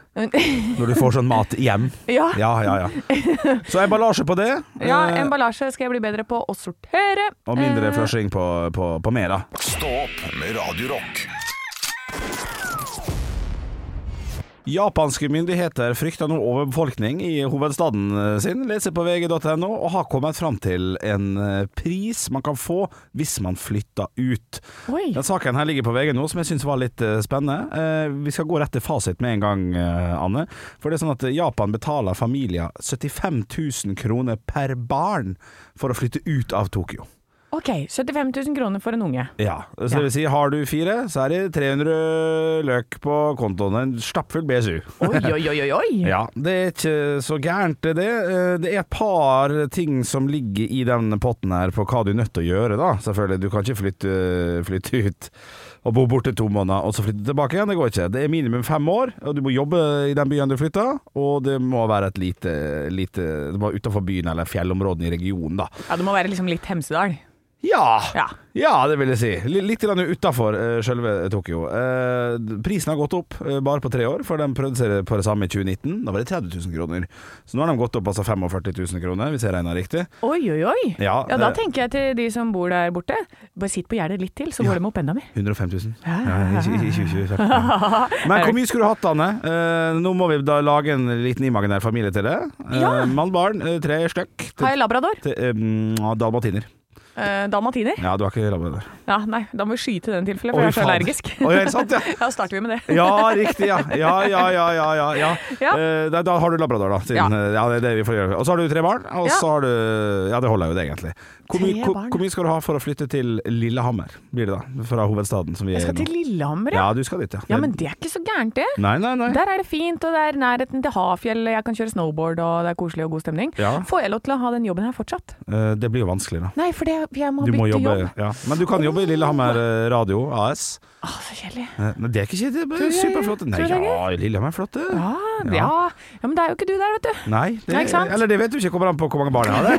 Speaker 3: Når du får sånn mat hjem.
Speaker 2: ja.
Speaker 3: Ja, ja, ja. Så emballasje på det.
Speaker 2: ja,
Speaker 3: eh,
Speaker 2: emballasje skal jeg bli bedre på å sortere.
Speaker 3: Og mindre
Speaker 2: Eh,
Speaker 3: flushing på, på, på mer, da.
Speaker 1: Stå opp med Radio Rock.
Speaker 3: Japanske myndigheter frykter nå overbefolkning i hovedstaden eh, sin, leser på vg.no, og har kommet fram til en eh, pris man kan få hvis man flytter ut.
Speaker 2: Oi.
Speaker 3: Den saken her ligger på VG nå, som jeg syns var litt eh, spennende. Eh, Vi skal gå rett til fasit med en gang, eh, Anne. For det er sånn at Japan betaler familier 75 000 kroner per barn for å flytte ut av Tokyo.
Speaker 2: Ok, 75 000 kroner for en unge.
Speaker 3: Ja, så det vil si har du fire, så er det 300 løk på kontoen. En stappfull BSU.
Speaker 2: Oi, oi, oi, oi, oi.
Speaker 3: Ja, det er ikke så gærent det. Eh, Det er et par ting som ligger i den potten her på hva du er nødt til å gjøre, da. Selvfølgelig, du kan ikke flytte, flytte ut og bo borte to måneder og så flytte tilbake igjen. Det går ikke. Det er minimum fem år, og du må jobbe i den byen du flytter, og det må være et lite, lite Det må være utenfor byen eller fjellområdene i regionen, da.
Speaker 2: Ja, det må være liksom litt Hemsedal.
Speaker 3: Ja, ja.
Speaker 2: Ja.
Speaker 3: det vil jeg si. L litt utafor uh, selve Tokyo. Eh, d- prisen har gått opp eh, bare på tre år, for de prøvde seg på det samme i 2019. Da var det 30 000 kroner. Så nå har de gått opp altså 45 000 kroner, hvis jeg regner riktig.
Speaker 2: Oi, oi, oi.
Speaker 3: Ja,
Speaker 2: da
Speaker 3: eh,
Speaker 2: tenker jeg til de som bor der borte. Bare sitt på gjerdet litt til, så går de opp enda mer.
Speaker 3: 105 000.
Speaker 2: Ja,
Speaker 3: Ja, ikke- ikke- ikke- ikke- ikke- ikke. Men hvor mye skulle du hatt, Anne? Eh, nå må vi da lage en liten imaginær familie til det. Eh,
Speaker 2: Ja.
Speaker 3: Mann, barn, eh, tre stykk.
Speaker 2: Har jeg
Speaker 3: Til,
Speaker 2: labrador?
Speaker 3: til, eh, mm, dalmatiner.
Speaker 2: Eh, dalmatiner?
Speaker 3: Ja, du har ikke labrador.
Speaker 2: Ja, nei, da må vi skyte den tilfellet,
Speaker 3: Oi,
Speaker 2: for jeg er så
Speaker 3: faen.
Speaker 2: allergisk.
Speaker 3: Oi, er det sant, ja?
Speaker 2: Da starter vi med det.
Speaker 3: Ja, riktig, ja. Ja, ja, ja, ja, ja. ja.
Speaker 2: Ja.
Speaker 3: Eh, da, da har du labrador, da. Siden, eh, ja. ja, det er det vi får gjøre. Og så har du tre barn, og
Speaker 2: Ja.
Speaker 3: så har du Ja, det holder jo, det, egentlig. Hvor mye,
Speaker 2: Tre
Speaker 3: hvor,
Speaker 2: barn.
Speaker 3: hvor mye skal du ha for å flytte til Lillehammer, blir det da? Fra hovedstaden som vi
Speaker 2: Jeg
Speaker 3: er
Speaker 2: skal til Lillehammer, ja.
Speaker 3: Ja, du skal dit, ja.
Speaker 2: Ja, men det er ikke så gærent, det.
Speaker 3: Nei, nei, nei.
Speaker 2: Der er det fint, og det er nærheten til Hafjell, jeg kan kjøre snowboard, og det er koselig og god stemning.
Speaker 3: Ja.
Speaker 2: Får jeg lov til å ha den jobben her fortsatt?
Speaker 3: Eh, det blir jo vanskelig, da.
Speaker 2: Nei, for det jeg, jeg må
Speaker 3: Du må
Speaker 2: bytte
Speaker 3: jobbe,
Speaker 2: jobb.
Speaker 3: ja. Men du kan jobbe i Lillehammer eh, Radio AS.
Speaker 2: Å, så kjedelig.
Speaker 3: Eh, Nei, det er ikke kjedelig.
Speaker 2: Tror
Speaker 3: bare
Speaker 2: jeg-
Speaker 3: Superflotte. Nei,
Speaker 2: tror jeg det
Speaker 3: ja, Lillehammer er flotte.
Speaker 2: Ja, ja. ja, men det er jo ikke du der, vet du.
Speaker 3: Nei, det,
Speaker 2: Nei, ikke sant?
Speaker 3: eller det vet du ikke. Kommer an på hvor mange barn jeg hadde.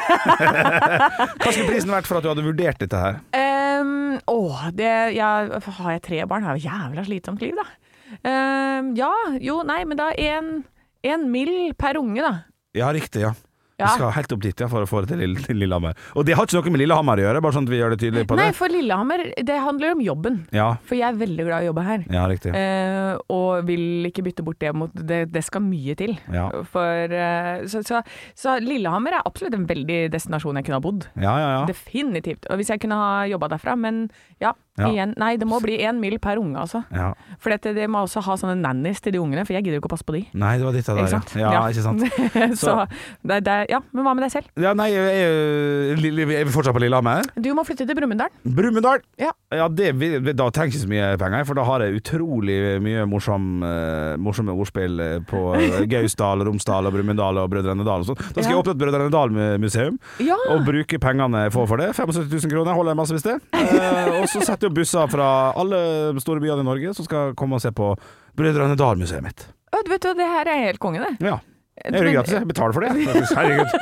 Speaker 3: Hva skulle prisen vært for at du hadde vurdert dette her?
Speaker 2: Ehm, åh, det, jeg, har jeg tre barn, har jeg jo jævla slitsomt liv, da. Ehm, ja, jo, nei, men da en, en mil per unge, da.
Speaker 3: Ja, riktig, ja. Vi
Speaker 2: Ja.
Speaker 3: skal helt opp dit ja, for å få det til Lill- til Lillehammer. Og det har ikke noe med Lillehammer å gjøre, bare sånn at vi gjør det tydelig på det.
Speaker 2: Nei, for Lillehammer, det handler om jobben.
Speaker 3: Ja,
Speaker 2: For jeg er veldig glad i å jobbe her.
Speaker 3: ja riktig.
Speaker 2: Eh, og vil ikke bytte bort det mot Det, det skal mye til.
Speaker 3: Ja.
Speaker 2: For, eh, så, så, så Lillehammer er absolutt en veldig destinasjon jeg kunne ha bodd.
Speaker 3: Ja, ja, ja.
Speaker 2: Definitivt. Og hvis jeg kunne ha jobba derfra, men ja,
Speaker 3: Ja.
Speaker 2: igjen. Nei, det må bli én mil per unge, altså.
Speaker 3: ja.
Speaker 2: For dette, det må også ha sånne nannies til de ungene, for jeg gidder jo ikke å passe på de.
Speaker 3: Nei, det var ditt av det.
Speaker 2: Ikke sant?
Speaker 3: Ja. ja, ikke sant.
Speaker 2: så det, det, ja, men hva med deg selv?
Speaker 3: Ja, nei, jeg, jeg, Lille- jeg er fortsatt på Lillehammer.
Speaker 2: Du må flytte til Brumunddal.
Speaker 3: Brumunddal!
Speaker 2: Ja.
Speaker 3: det, vil- da trenger jeg ikke så mye penger, for da har jeg utrolig mye morsom, eh, morsomme ordspill eh, på eh, Gausdal, Romsdal og Brumunddal og Brødrene Dal og sånn. Da skal
Speaker 2: Ja.
Speaker 3: jeg åpne et Brødrene Dal-museum
Speaker 2: Ja!
Speaker 3: og bruke pengene jeg får for det. 75 000 kroner holder jeg massevis til. Eh, og så setter jeg opp busser fra alle store byene i Norge som skal komme og se på Brødrene Dal-museet mitt.
Speaker 2: Å, du vet du, det her er helt konge, det.
Speaker 3: Ja. Jeg gjør det gratis, jeg betaler for det. Herregud.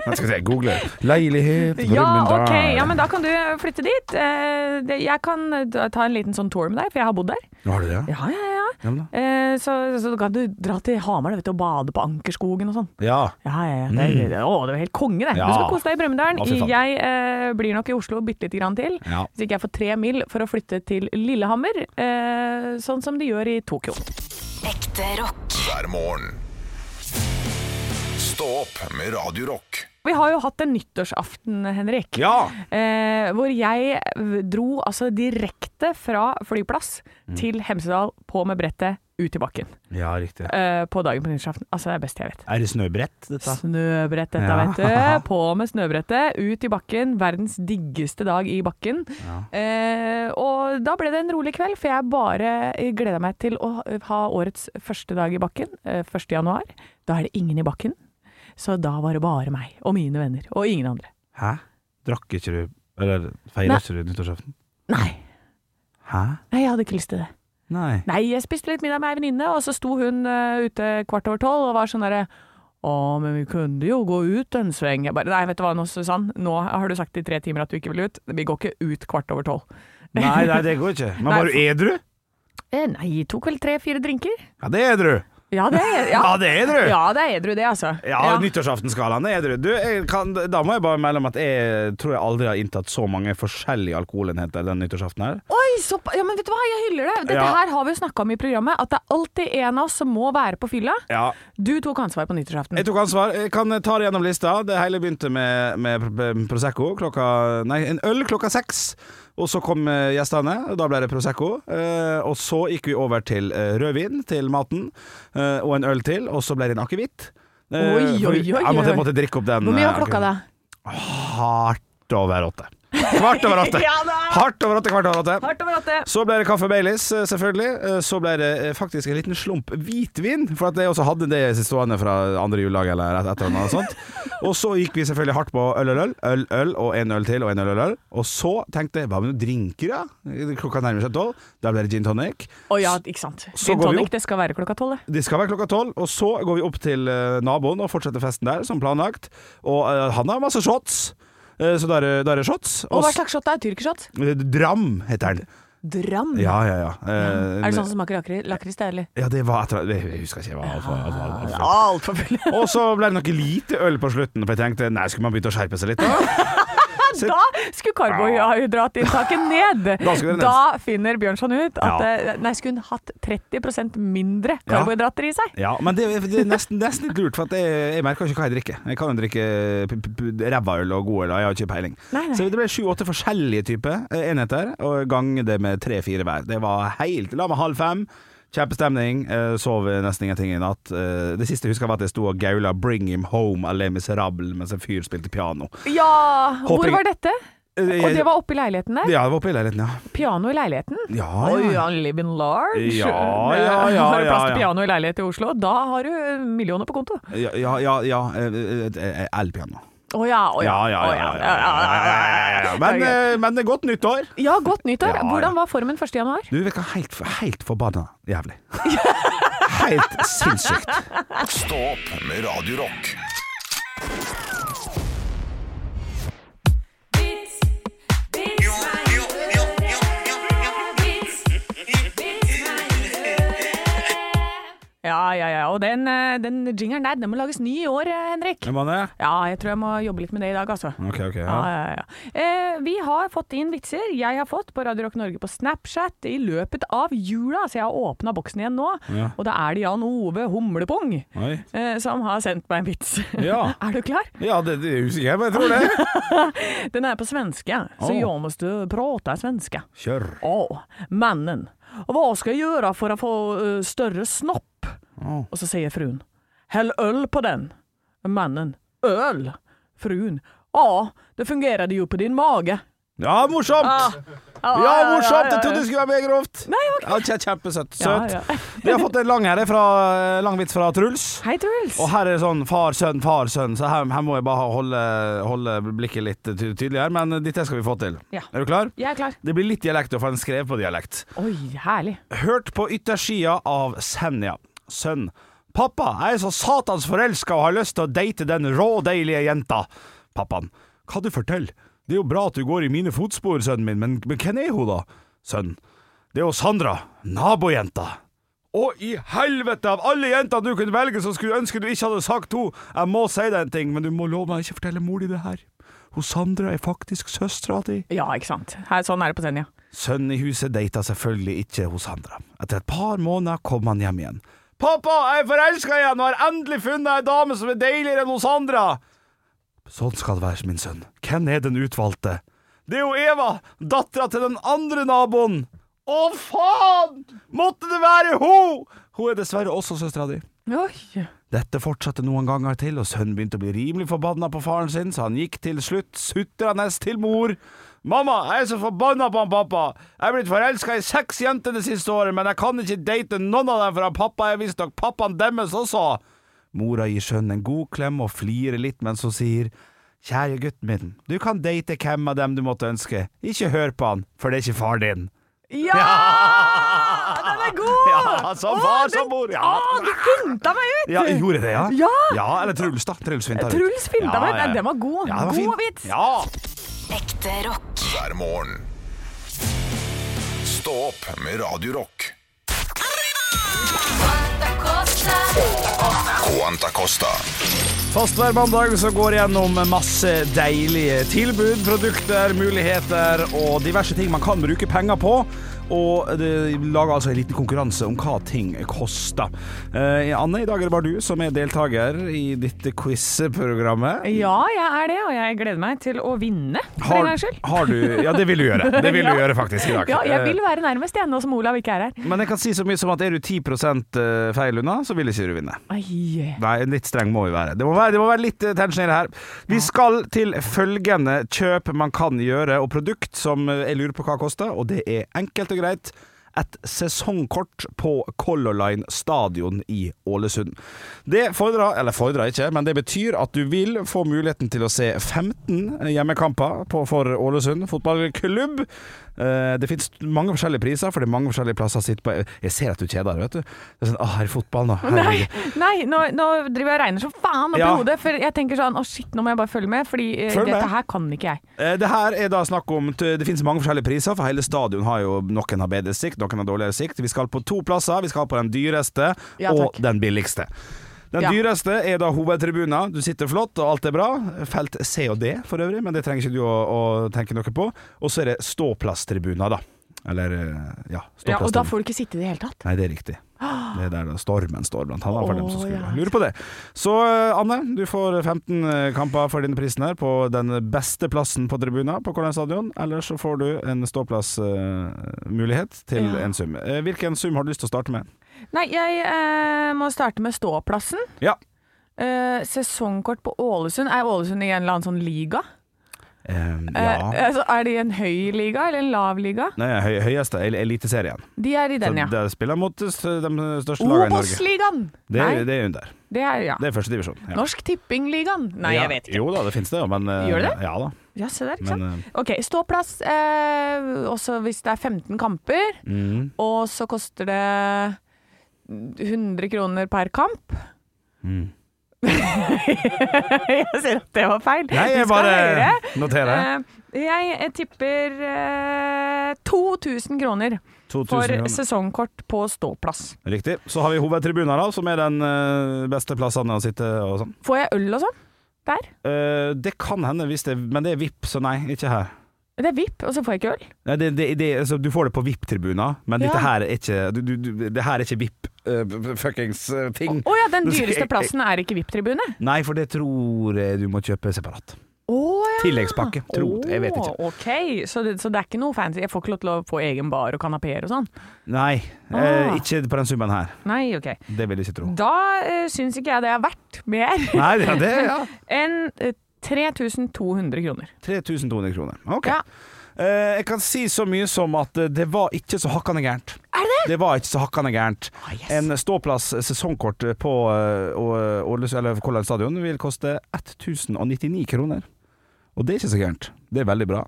Speaker 3: Men skal vi se, google leilighet
Speaker 2: Ja,
Speaker 3: Brumunddal.
Speaker 2: ok. Ja, men da kan du flytte dit. Eh, det- Jeg kan da ta en liten sånn tour med deg, for jeg har bodd der.
Speaker 3: Har du det? Ja,
Speaker 2: Ja, ja, ja.
Speaker 3: ja, men da.
Speaker 2: Eh, Så, så kan du dra til Hamar vet du, og bade på Ankerskogen og sånn.
Speaker 3: ja.
Speaker 2: Ja, ja, ja. Det, det, å, det var helt konge, det. Du
Speaker 3: Ja.
Speaker 2: skal kose deg i Brumunddal.
Speaker 3: Å, fy faen.
Speaker 2: Jeg eh, blir nok i Oslo bitte lite grann til.
Speaker 3: ja.
Speaker 2: Hvis ikke jeg får tre mil for å flytte til Lillehammer, eh, sånn som de gjør i Tokyo.
Speaker 4: Ekte rock.
Speaker 1: hver morgen. Stå opp med Radio Rock.
Speaker 2: Vi har jo hatt en nyttårsaften, Henrik.
Speaker 3: Ja!
Speaker 2: Eh, hvor jeg dro altså direkte fra flyplass
Speaker 3: Mm.
Speaker 2: til Hemsedal, på med brettet, ut i bakken.
Speaker 3: Ja, riktig.
Speaker 2: Eh, på dagen på nyttårsaften. Altså, det er det beste jeg vet.
Speaker 3: Er det snøbrett, dette?
Speaker 2: Snøbrett dette,
Speaker 3: Ja.
Speaker 2: vet du. På med snøbrettet, ut i bakken. Verdens diggeste dag i bakken. Eh, og da ble det en rolig kveld, for jeg bare gleda meg til å ha årets første dag i bakken. Eh, 1. januar. Da er det ingen i bakken. Så da var det bare meg og mine venner, og ingen andre.
Speaker 3: Hæ? Drakk ikke du Eller
Speaker 2: Nei.
Speaker 3: feira ikke du nyttårsaften?
Speaker 2: Nei,
Speaker 3: Hæ?
Speaker 2: nei, jeg hadde ikke lyst til det.
Speaker 3: Nei.
Speaker 2: Nei, jeg spiste litt middag med ei venninne, og så sto hun eh, ute kvart over tolv og var sånn derre å, men vi kunne jo gå ut en sveng. Jeg bare, nei, vet du hva nå, Susann. Nå har du sagt i tre timer at du ikke vil ut. Vi går ikke ut kvart over tolv.
Speaker 3: Nei, nei, det går ikke. Men
Speaker 2: Nei.
Speaker 3: var du edru?
Speaker 2: Eh, nei, tok vel tre-fire drinker.
Speaker 3: Ja, det er edru.
Speaker 2: Ja, det er, ja.
Speaker 3: Ja, det er edru.
Speaker 2: Ah. ja, det er edru, det, altså.
Speaker 3: Ja, nyttårsaftenskalaen er edru. Du, jeg kan, da må jeg bare melde om at jeg tror jeg aldri har inntatt så mange forskjellige alkoholenheter den nyttårsaften her.
Speaker 2: Oi, så, ja, men vet du hva, jeg hyller det. Dette
Speaker 3: Ja.
Speaker 2: her har vi jo snakka om i programmet, at det er alltid en av oss som må være på fylla.
Speaker 3: Ja.
Speaker 2: Du tok ansvar på nyttårsaften.
Speaker 3: Jeg tok ansvar. Jeg kan ta det gjennom lista. Det hele begynte med, med pr- Prosecco klokka Nei, en øl klokka seks. Og så kom eh, gjestene, og da ble det Prosecco. Eh, og så gikk vi over til eh, rødvin til maten, eh, og en øl til, og så ble det en akevitt. Eh,
Speaker 2: Oi,
Speaker 3: for
Speaker 2: oi,
Speaker 3: vi-
Speaker 2: oi,
Speaker 3: Jeg måtte,
Speaker 2: oi.
Speaker 3: måtte drikke opp den.
Speaker 2: Hvor mye var
Speaker 3: eh,
Speaker 2: klokka da?
Speaker 3: akevitten. Hardt over åtte. Kvart over åtte.
Speaker 2: Ja da!
Speaker 3: Hardt over åtte, kvart over åtte.
Speaker 2: Hardt over åtte.
Speaker 3: Så ble det kaffe Baileys, eh, selvfølgelig. Eh, Så ble det eh, faktisk en liten slump hvitvin, for at jeg også hadde det stående fra andre juledag eller et et eller annet sånt. Og så gikk vi selvfølgelig hardt på øl, øl, øl, øl, øl og en øl til og en øl, øl, øl. Og så tenkte jeg hva med noen drinker, da? Klokka nærmer seg tolv. Da ble det gin tonic.
Speaker 2: Å ja, ikke sant.
Speaker 3: Så
Speaker 2: Gin
Speaker 3: går vi
Speaker 2: tonic,
Speaker 3: opp.
Speaker 2: det skal være klokka tolv, det.
Speaker 3: Det skal være klokka tolv, og så går vi opp til eh, naboen og fortsetter festen der som planlagt. Og eh, han har masse shots, eh, så da er det- da er det shots.
Speaker 2: Og hva
Speaker 3: s-
Speaker 2: slags shot er tyrkershot?
Speaker 3: eh, Dram heter den.
Speaker 2: Dram?
Speaker 3: Ja, ja, ja. Eh,
Speaker 2: Er det sånn som smaker lakri- lakris, det, eller?
Speaker 3: Ja, det var etter Jeg husker ikke. det var altfor- altfor- altfor- altfor-
Speaker 2: Altfor full.
Speaker 3: Og så ble det noe lite øl på slutten, for jeg tenkte nei, skulle man begynne å skjerpe seg litt? Da?
Speaker 2: Da skulle karbohydratinntaket ned!
Speaker 3: Da skulle det ned.
Speaker 2: Da finner Bjørnson ut at
Speaker 3: Ja.
Speaker 2: eh, Nei, skulle hun hatt 30 mindre karbohydrater i seg?
Speaker 3: Ja, men det, det er nesten, nesten litt lurt, for at jeg, jeg merker ikke hva jeg drikker. Jeg kan jo drikke p- p- p- ræva øl og god øl, og jeg har ikke peiling.
Speaker 2: Nei, nei.
Speaker 3: Så det ble sju-åtte forskjellige typer eh, enheter, og gange det med tre-fire hver. Det var helt La meg halv fem. Kjempestemning. eh, Sov nesten ingenting i natt. Eh, Det siste jeg husker, var at jeg sto og gaula 'Bring him home, Allé Miserable' mens en fyr spilte piano.
Speaker 2: Ja! Hvor
Speaker 3: Håper-
Speaker 2: var dette? Og det var oppe i leiligheten der?
Speaker 3: Ja, det var oppe i leiligheten, ja.
Speaker 2: Piano i leiligheten?
Speaker 3: Ja,
Speaker 2: Oi,
Speaker 3: ja.
Speaker 2: ja, live in large.
Speaker 3: Ja, ja, ja,
Speaker 2: Har du plass
Speaker 3: ja, ja.
Speaker 2: til piano i leilighet i Oslo, da har du millioner på konto.
Speaker 3: Ja, ja, ja, ja. eh, eh, eh, Elpiano.
Speaker 2: Å ja, å ja.
Speaker 3: Ja, ja, ja. ja, ja, ja, ja, ja. Men, eh, men det er godt nyttår.
Speaker 2: Ja, godt nyttår.
Speaker 3: Ja, ja.
Speaker 2: Hvordan var formen 1. januar?
Speaker 3: Du virker helt, helt forbanna jævlig. Helt sinnssykt.
Speaker 1: Stå opp med Radio Rock.
Speaker 2: Ja, ja, ja. Og den, eh, den jingeren der, den må lages ny i år, eh, Henrik.
Speaker 3: Hvem var det?
Speaker 2: Ja, jeg tror jeg må jobbe litt med det i dag, altså.
Speaker 3: Ok, ok.
Speaker 2: Ja,
Speaker 3: Ah, Ja.
Speaker 2: ja, ja. Eh, vi har fått inn vitser. Jeg har fått på Radio Rock Norge på Snapchat i løpet av jula, så jeg har åpna boksen igjen nå.
Speaker 3: Ja.
Speaker 2: Og da er det Jan Ove Humlepung
Speaker 3: Oi.
Speaker 2: eh, som har sendt meg en vits.
Speaker 3: Ja.
Speaker 2: er du klar?
Speaker 3: Ja, det, det er usikker, men jeg tror det.
Speaker 2: Den er på svenske, så
Speaker 3: Åh.
Speaker 2: jeg må prate svenske.
Speaker 3: Kjør.
Speaker 2: Åh, mannen. Hva skal jeg gjøre for å få eh, større snopp?
Speaker 3: Åh.
Speaker 2: Og så sier fruen. Häll øl på den. Mannen. Øl? Fruen. Ja, det fungerte jo på din mage.
Speaker 3: Ja,
Speaker 2: Ah.
Speaker 3: morsomt! Ja, morsomt! Jeg trodde det skulle være mer grovt. Ja, kje- Kjempesøtt. Søt.
Speaker 2: Ja, ja.
Speaker 3: Vi har fått en lang, her fra, eh, lang vits fra Truls.
Speaker 2: Hei, Truls.
Speaker 3: Og her er det sånn far, sønn, far, sønn, så her, her må jeg bare holde, holde blikket litt ty- tydelig her. Men eh, dette skal vi få til.
Speaker 2: Ja.
Speaker 3: Er du klar?
Speaker 2: Jeg er klar.
Speaker 3: Det blir litt dialekt, for han skrev på dialekt.
Speaker 2: Oi, herlig.
Speaker 3: Hørt på yttersida av Senja. Sønn. Pappa, jeg er så satans forelska og har lyst til å date den rådeilige jenta. Pappaen. Hva du forteller? Det er jo bra at du går i mine fotspor, sønnen min, men, men hvem er hun da? Sønn. Det er jo Sandra, nabojenta. Å, i helvete! Av alle jenter du kunne velge, så skulle jeg ønske du ikke hadde sagt henne. Jeg må si deg en ting, men du må love meg å ikke fortelle mor di det her. Hun Sandra er faktisk søstera di.
Speaker 2: Ja, ikke sant. Her, sånn er det på Senja.
Speaker 3: Sønnen i huset data selvfølgelig ikke hos Sandra. Etter et par måneder kom han hjem igjen. Pappa, jeg er forelska igjen og har endelig funnet ei dame som er deiligere enn hos Sandra! Sånn skal det være, min sønn. Hvem er den utvalgte? Det er jo Eva, dattera til den andre naboen. Å, faen! Måtte det være hun! Hun er dessverre også søstera di.
Speaker 2: Oi.
Speaker 3: Dette fortsatte noen ganger til, og sønnen begynte å bli rimelig forbanna på faren sin, så han gikk til slutt sutrende til mor. Mamma, jeg er så forbanna på han pappa. Jeg er blitt forelska i seks jenter det siste året, men jeg kan ikke date noen av dem, for han pappa er visstnok pappaen deres også. Mora gir sønnen en god klem og flirer litt mens hun sier Kjære gutten min, du kan date hvem av dem du måtte ønske. Ikke hør på han, for det er ikke far din.
Speaker 2: Ja! Ah, Den er god!
Speaker 3: Ja, som
Speaker 2: Å,
Speaker 3: far,
Speaker 2: den-
Speaker 3: som mor, ja.
Speaker 2: Å, du finta meg ut!
Speaker 3: Ja, jeg gjorde det, ja?
Speaker 2: Ja!
Speaker 3: eller Truls, da. Truls finta ut.
Speaker 2: Truls finta meg ut. Nei, den var god.
Speaker 3: Ja, den var
Speaker 2: God
Speaker 3: fin.
Speaker 2: vits.
Speaker 3: Ja.
Speaker 4: Ekte rock.
Speaker 1: hver morgen. Stå opp med Radio Rock. Quanta Costa.
Speaker 3: Fast hver mandag så går jeg gjennom masse deilige tilbud, produkter, muligheter og diverse ting man kan bruke penger på. Og det lager altså en liten konkurranse om hva ting koster. Eh, Anne, i dag er det bare du som er deltaker i dette quiz-programmet.
Speaker 2: Ja, jeg er det, og jeg gleder meg til å vinne, for en gangs skyld.
Speaker 3: har du Ja, det vil du gjøre. Det vil du
Speaker 2: Ja.
Speaker 3: gjøre faktisk i dag.
Speaker 2: Ja, jeg
Speaker 3: Eh,
Speaker 2: vil være nærmest, jeg, nå som Olav ikke er her.
Speaker 3: Men jeg kan si så mye som at er du 10 feil unna, så vil ikke du vinne.
Speaker 2: Ai.
Speaker 3: Nei, litt streng må vi være. Det må være, det må være litt eh, tension i det her. Vi skal til følgende kjøp man kan gjøre, og produkt som eh, jeg lurer på hva koster, og det er enkelt og greit. Et sesongkort på Color Line Stadion i Ålesund. Det fordrer, eller fordrer ikke, men det betyr at du vil få muligheten til å se 15 hjemmekamper på, for Ålesund fotballklubb. Eh, Det finnes mange forskjellige priser, for det er mange forskjellige plasser å sitte på. Jeg ser at du kjeder deg, vet du. Det er sånn, Å, her er fotball nå.
Speaker 2: Nei,
Speaker 3: Herregud.
Speaker 2: nei nå, nå driver jeg og regner som faen opp i
Speaker 3: Ja.
Speaker 2: hodet, for jeg tenker sånn å shit, nå må jeg bare følge med, fordi eh,
Speaker 3: Følg med.
Speaker 2: dette her kan ikke jeg.
Speaker 3: Eh, Det her er da snakk om Det finnes mange forskjellige priser, for hele stadion har jo Noen har bedre sikt, noen har dårligere sikt. Vi skal på to plasser. Vi skal på den dyreste
Speaker 2: Ja,
Speaker 3: og
Speaker 2: takk.
Speaker 3: den billigste. Den
Speaker 2: Ja.
Speaker 3: dyreste er da hovedtribunen. Du sitter flott, og alt er bra. Felt C og D for øvrig, men det trenger ikke du å, å tenke noe på. Og så er det ståplasstribuner, da. Eller eh, ja,
Speaker 2: Ja, og da
Speaker 3: ståplasstribuner.
Speaker 2: får du ikke sitte i det hele tatt.
Speaker 3: Nei, det er riktig. Det er der da stormen står blant annet for dem som
Speaker 2: Å,
Speaker 3: skulle
Speaker 2: ja.
Speaker 3: lure på det. Så eh, Anne, du får 15 kamper for denne prisen her på den beste plassen på tribunen på Kollen stadion. Eller så får du en ståplassmulighet til
Speaker 2: Ja.
Speaker 3: en sum. Eh, Hvilken sum har du lyst til å starte med?
Speaker 2: Nei, jeg eh, må starte med ståplassen.
Speaker 3: Ja.
Speaker 2: Eh, sesongkort på Ålesund. Er Ålesund i en eller annen sånn liga?
Speaker 3: Ehm,
Speaker 2: Eh,
Speaker 3: ja.
Speaker 2: altså, er de i en høy liga eller en lav liga?
Speaker 3: Nei, høy, høyeste el- eliteserien.
Speaker 2: De er i
Speaker 3: Så
Speaker 2: den, ja.
Speaker 3: Der spiller han mot s- de største lagene i Norge.
Speaker 2: Obos-ligaen!
Speaker 3: Det,
Speaker 2: Nei,
Speaker 3: er- det er under.
Speaker 2: det er ja.
Speaker 3: Det er første divisjon. Ja.
Speaker 2: Norsk Tipping-ligaen. Nei, jeg vet ikke.
Speaker 3: Jo da, det finnes det, jo, men eh,
Speaker 2: Gjør det?
Speaker 3: Ja da.
Speaker 2: Ja, se der, ikke
Speaker 3: Men,
Speaker 2: sant. Ok, ståplass. Eh, også hvis det er 15 kamper,
Speaker 3: Mm,
Speaker 2: og så koster det 100 kroner per kamp.
Speaker 3: mm.
Speaker 2: jeg ser at det var feil.
Speaker 3: Nei,
Speaker 2: Vi
Speaker 3: jeg
Speaker 2: skal
Speaker 3: bare
Speaker 2: høre.
Speaker 3: noterer.
Speaker 2: Eh, jeg, jeg tipper eh, 2000 kroner
Speaker 3: 2000
Speaker 2: for
Speaker 3: kroner.
Speaker 2: sesongkort på ståplass.
Speaker 3: Riktig. Så har vi hovedtribunen, da, som er den eh, beste plassen å sitte og sånn.
Speaker 2: Får jeg øl og sånn der?
Speaker 3: Eh, det kan hende, hvis det, men det er VIP, så nei, ikke her.
Speaker 2: Det er VIP, og så får jeg ikke øl.
Speaker 3: Nei, det, det, det, altså, du får det på VIP-tribuner, men
Speaker 2: Ja.
Speaker 3: dette her er ikke du, du, du, Det her er ikke eh, VIP-fuckings-ting.
Speaker 2: Å ja, den
Speaker 3: Nå skal
Speaker 2: dyreste
Speaker 3: jeg-
Speaker 2: plassen er ikke VIP-tribune.
Speaker 3: eh, Nei, for det tror jeg du må kjøpe separat.
Speaker 2: Å ja.
Speaker 3: Tilleggspakke. Tro, jeg vet ikke.
Speaker 2: Å, Ok, så det, så det er ikke noe fancy? Jeg får ikke lov til å få egen bar og kanapeer og sånn?
Speaker 3: Nei, eh,
Speaker 2: Ah.
Speaker 3: ikke på den summen her.
Speaker 2: Nei, ok.
Speaker 3: Det vil jeg ikke tro.
Speaker 2: Da uh, syns ikke jeg det er verdt mer
Speaker 3: Nei, ja, det ja.
Speaker 2: enn eh, 3200 kroner.
Speaker 3: 3200 kroner. Ok.
Speaker 2: Ja.
Speaker 3: Eh, jeg kan si så mye som at eh, det var ikke så hakkande gærent.
Speaker 2: Er det
Speaker 3: Det var ikke så hakkande gærent.
Speaker 2: Ah, yes.
Speaker 3: En ståplass sesongkort på eh, Å- Åles- eller Kollen stadion vil koste 1099 kroner. Og det er ikke så gærent. Det er veldig bra.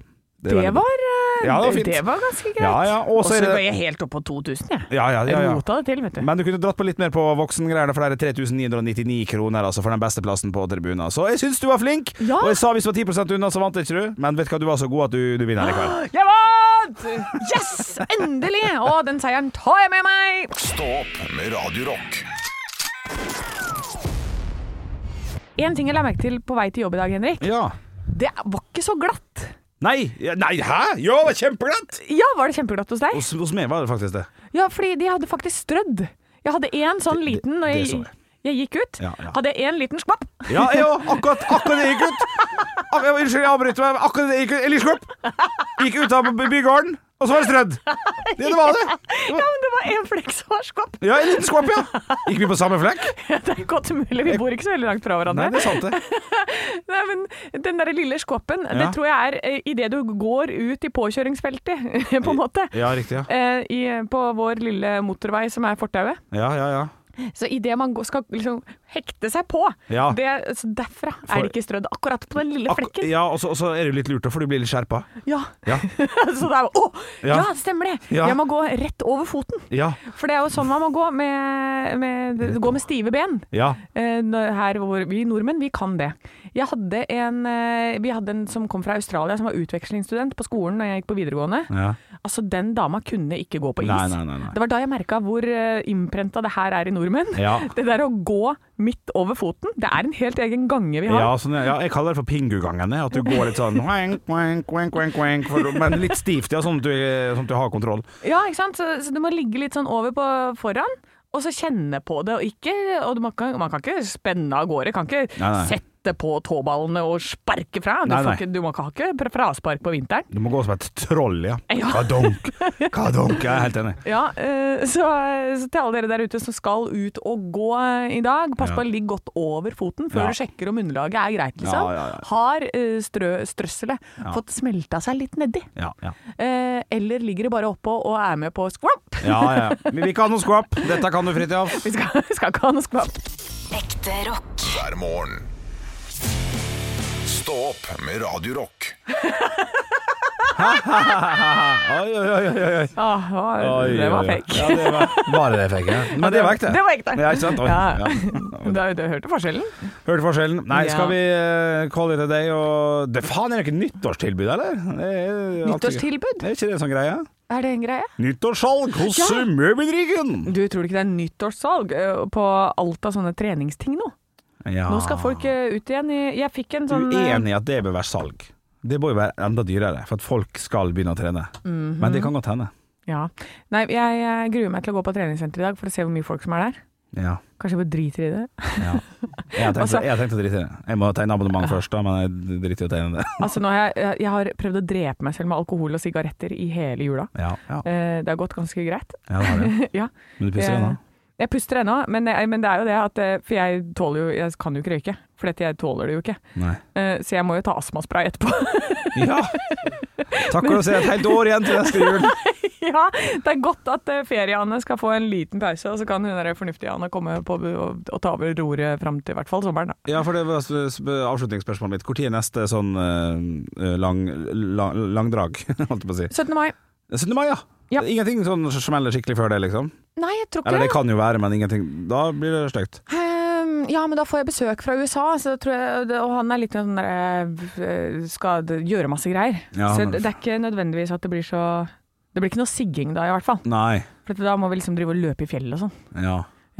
Speaker 2: Det,
Speaker 3: veldig bra.
Speaker 2: var, eh,
Speaker 3: Ja, det var fint.
Speaker 2: det var ganske greit.
Speaker 3: Ja, ja. Og
Speaker 2: Og
Speaker 3: så
Speaker 2: så
Speaker 3: er
Speaker 2: går
Speaker 3: det
Speaker 2: jeg helt opp på 2000, jeg.
Speaker 3: ja, ja, ja,
Speaker 2: Jeg
Speaker 3: ja.
Speaker 2: rota det til, vet du.
Speaker 3: Men du kunne dratt på litt mer på voksengreiene, for det er 3999 kroner altså, for den beste plassen på tribunen. Så jeg syns du var flink,
Speaker 2: Ja.
Speaker 3: og jeg sa hvis du var 10 unna, så vant ikke du. Men vet du hva, du var så god at du, du vinner likevel.
Speaker 2: Jeg vant! Yes! Endelig! Og den seieren tar jeg med meg!
Speaker 1: Stå opp med Radio Rock.
Speaker 2: En ting jeg la merke til på vei til jobb i dag, Henrik.
Speaker 3: Ja.
Speaker 2: Det var ikke så glatt.
Speaker 3: Nei, ja, nei, hæ? Jo, det var kjempeglatt!
Speaker 2: Ja, var det kjempeglatt hos deg?
Speaker 3: Hos, hos meg var det faktisk det.
Speaker 2: Ja, fordi de hadde faktisk strødd. Jeg hadde én sånn
Speaker 3: Det- det-
Speaker 2: liten når
Speaker 3: det
Speaker 2: jeg,
Speaker 3: så jeg.
Speaker 2: jeg gikk ut.
Speaker 3: Ja, ja.
Speaker 2: Hadde jeg én liten skvapp.
Speaker 3: Ja, ja, akkurat, akkurat det gikk ut. Ak ja, unnskyld, jeg avbryter meg. men Akkurat det gikk ut. Eller skopp. Gikk ut av by- bygården, og så var det strødd. Det, det var det. det
Speaker 2: Ja,
Speaker 3: var,
Speaker 2: men det var én flekk som var skvapp.
Speaker 3: ja, en liten skopp, ja. Gikk vi på samme flekk?
Speaker 2: Det er godt mulig, vi bor ikke så veldig langt fra
Speaker 3: Nei,
Speaker 2: hverandre.
Speaker 3: det er sant, det.
Speaker 2: Nei, men Den derre lille skvappen, det
Speaker 3: Ja.
Speaker 2: tror jeg er idet du går ut i påkjøringsfeltet, på en måte.
Speaker 3: Ja, riktig, ja.
Speaker 2: Eh, I, på vår lille motorvei som er fortauet.
Speaker 3: Ja, ja, ja.
Speaker 2: Så idet man går- skal liksom hekte seg på
Speaker 3: Ja.
Speaker 2: det, så Derfra
Speaker 3: For-
Speaker 2: er det ikke strødd. Akkurat på den lille
Speaker 3: Ak
Speaker 2: flekken.
Speaker 3: ja og så og så er det jo litt lurt, da, for du blir litt skjerpa.
Speaker 2: Ja.
Speaker 3: Ja.
Speaker 2: så det er jo Å!
Speaker 3: Ja.
Speaker 2: Ja. stemmer det!
Speaker 3: Ja.
Speaker 2: Jeg må gå rett over foten.
Speaker 3: Ja.
Speaker 2: For det er jo sånn man må gå med, med, gå med stive ben.
Speaker 3: Ja.
Speaker 2: Eh, nå- Her hvor Vi nordmenn, vi kan det. Jeg hadde en, eh, vi hadde en som kom fra Australia, som var utvekslingsstudent på skolen da jeg gikk på videregående.
Speaker 3: ja.
Speaker 2: Altså, den dama kunne ikke gå på is.
Speaker 3: Nei, nei, nei, nei.
Speaker 2: Det var da jeg merka hvor eh, innprenta det her er i nordmenn.
Speaker 3: Ja.
Speaker 2: Det der å gå midt over foten, det er en helt egen gange vi har.
Speaker 3: Ja, sånn, ja, jeg kaller det for pingugangen. jeg, At du går litt sånn wank, wank, wank, wank, wank, for, Men litt stivt, ja, sånn at, du, sånn at du har kontroll.
Speaker 2: Ja, ikke sant? Så, så du må ligge litt sånn over på foran, og så kjenne på det, og ikke og du, man, kan, man kan ikke spenne av gårde. Kan ikke
Speaker 3: Nei, nei.
Speaker 2: sette på tåballene og sparke fra. Du,
Speaker 3: Nei, nei.
Speaker 2: Får ikke, du må ikke ha ikke fra- fraspark på vinteren.
Speaker 3: Du må gå som et troll, ja.
Speaker 2: Ja.
Speaker 3: Kadonk, kadonk. Jeg er helt enig.
Speaker 2: Ja, eh, så, så til alle dere der ute som skal ut og gå eh, i dag, pass
Speaker 3: Ja.
Speaker 2: på å ligge godt over foten før
Speaker 3: Ja.
Speaker 2: du sjekker om underlaget er greit, liksom.
Speaker 3: Ja, ja, ja.
Speaker 2: Har eh, strø, strøsselet
Speaker 3: Ja.
Speaker 2: fått smelta seg litt nedi?
Speaker 3: Ja, ja.
Speaker 2: Eh, eller ligger det bare oppå og er med på skvapp?
Speaker 3: ja, ja. Vi vil ikke ha noe skvapp. Dette kan du, Fridtjof.
Speaker 2: Vi skal, skal ikke ha noe skvapp.
Speaker 4: Ekte rock.
Speaker 1: hver morgen. Stå opp med Radio Rock.
Speaker 3: Oi, oi, oi, oi, oi.
Speaker 2: Ah, ah,
Speaker 3: Oi,
Speaker 2: det var
Speaker 3: oi, oi.
Speaker 2: fake.
Speaker 3: Ja, det var, var det det fake? Ja. Men det var ekte.
Speaker 2: Det var ekte.
Speaker 3: Ja, ikke sant? Oi.
Speaker 2: Ja.
Speaker 3: Ja.
Speaker 2: Du, du hørte forskjellen?
Speaker 3: Hørte forskjellen? Nei,
Speaker 2: Ja.
Speaker 3: skal vi eh, call it a day og det, Faen, er det ikke nyttårstilbud, eller? Det er alltid-
Speaker 2: Nyttårstilbud?
Speaker 3: Er ikke det en sånn greie?
Speaker 2: Er det en greie?
Speaker 3: Nyttårssalg hos
Speaker 2: Ja.
Speaker 3: eh, Møbelryggen!
Speaker 2: Du tror ikke det er nyttårssalg eh, på alt av sånne treningsting nå?
Speaker 3: Ja.
Speaker 2: Nå skal folk eh, ut igjen i Jeg fikk en sånn eh,
Speaker 3: Uenig i at det bør være salg. Det bør jo være enda dyrere, for at folk skal begynne å trene. Men det kan godt hende.
Speaker 2: Mhm. Ja. Nei, jeg, jeg gruer meg til å gå på treningssenter i dag for å se hvor mye folk som er der.
Speaker 3: Ja.
Speaker 2: Kanskje jeg bare driter i det.
Speaker 3: ja. Jeg har tenkt,
Speaker 2: Altså-
Speaker 3: jeg har tenkt å drite i det. Jeg må tegne abonnement først, da, men jeg driter i å tegne det.
Speaker 2: Altså, nå har jeg, jeg har prøvd å drepe meg selv med alkohol og sigaretter i hele jula.
Speaker 3: Ja, ja,
Speaker 2: Eh, Det har gått ganske greit.
Speaker 3: ja det har du.
Speaker 2: ja.
Speaker 3: Men du pusser igjen, da?
Speaker 2: Eh, Jeg puster ennå, men, jeg- men det er jo det at eh, For jeg tåler jo Jeg kan jo ikke røyke, for dette, jeg tåler det jo ikke.
Speaker 3: Nei.
Speaker 2: Eh, Så jeg må jo ta astmaspray etterpå.
Speaker 3: Ja. Takk for å se. Et helt år igjen til neste jul.
Speaker 2: ja, det er godt at eh, ferie-Anne skal få en liten pause, og så kan hun der fornuftige Anne komme på bu- og, og ta over roret fram til i hvert fall sommeren, da.
Speaker 3: Ja, for det var sp- sp- avslutningsspørsmålet mitt. Når er neste sånn eh, lang, lang, langdrag, holdt jeg på å si?
Speaker 2: 17. mai.
Speaker 3: 17. mai, ja.
Speaker 2: Ja.
Speaker 3: Ingenting sånn smeller skikkelig før det, liksom?
Speaker 2: Nei, jeg tror ikke
Speaker 3: Eller det kan jo være, men ingenting. Da blir det stygt.
Speaker 2: Ehm, ja, men da får jeg besøk fra USA, så da tror jeg, og han er litt sånn der eh, Skal gjøre masse greier.
Speaker 3: Ja,
Speaker 2: så
Speaker 3: han er-
Speaker 2: det er ikke nødvendigvis at det blir så Det blir ikke noe sigging da, i hvert fall.
Speaker 3: Nei.
Speaker 2: For da må vi liksom drive og løpe i fjellet og sånn.
Speaker 3: Ja.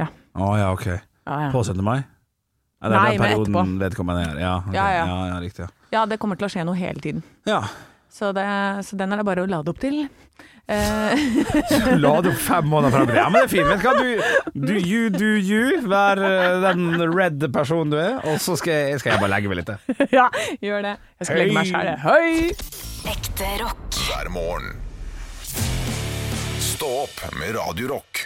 Speaker 2: Ja.
Speaker 3: Å ja, ok.
Speaker 2: Ja, ja.
Speaker 3: På 17. mai? Ja, det er
Speaker 2: Nei, men
Speaker 3: den perioden
Speaker 2: etterpå.
Speaker 3: vedkommende er ja, ok.
Speaker 2: Ja, ja.
Speaker 3: ja, ja, riktig. Ja.
Speaker 2: ja, det kommer til å skje noe hele tiden.
Speaker 3: ja.
Speaker 2: Så, det, så den er det bare å lade opp til. Eh,
Speaker 3: La det opp fem måneder frem i tid. Ja, men det er fint. Vet du hva, du, du you do you. Vær eh, den red personen du er, og så skal jeg, skal jeg bare legge meg litt. jeg.
Speaker 2: ja, gjør det. Jeg skal legge meg
Speaker 3: Høy.
Speaker 2: sjæl. Høy!
Speaker 4: Ekte rock.
Speaker 1: hver morgen. Stå opp med Radio Rock.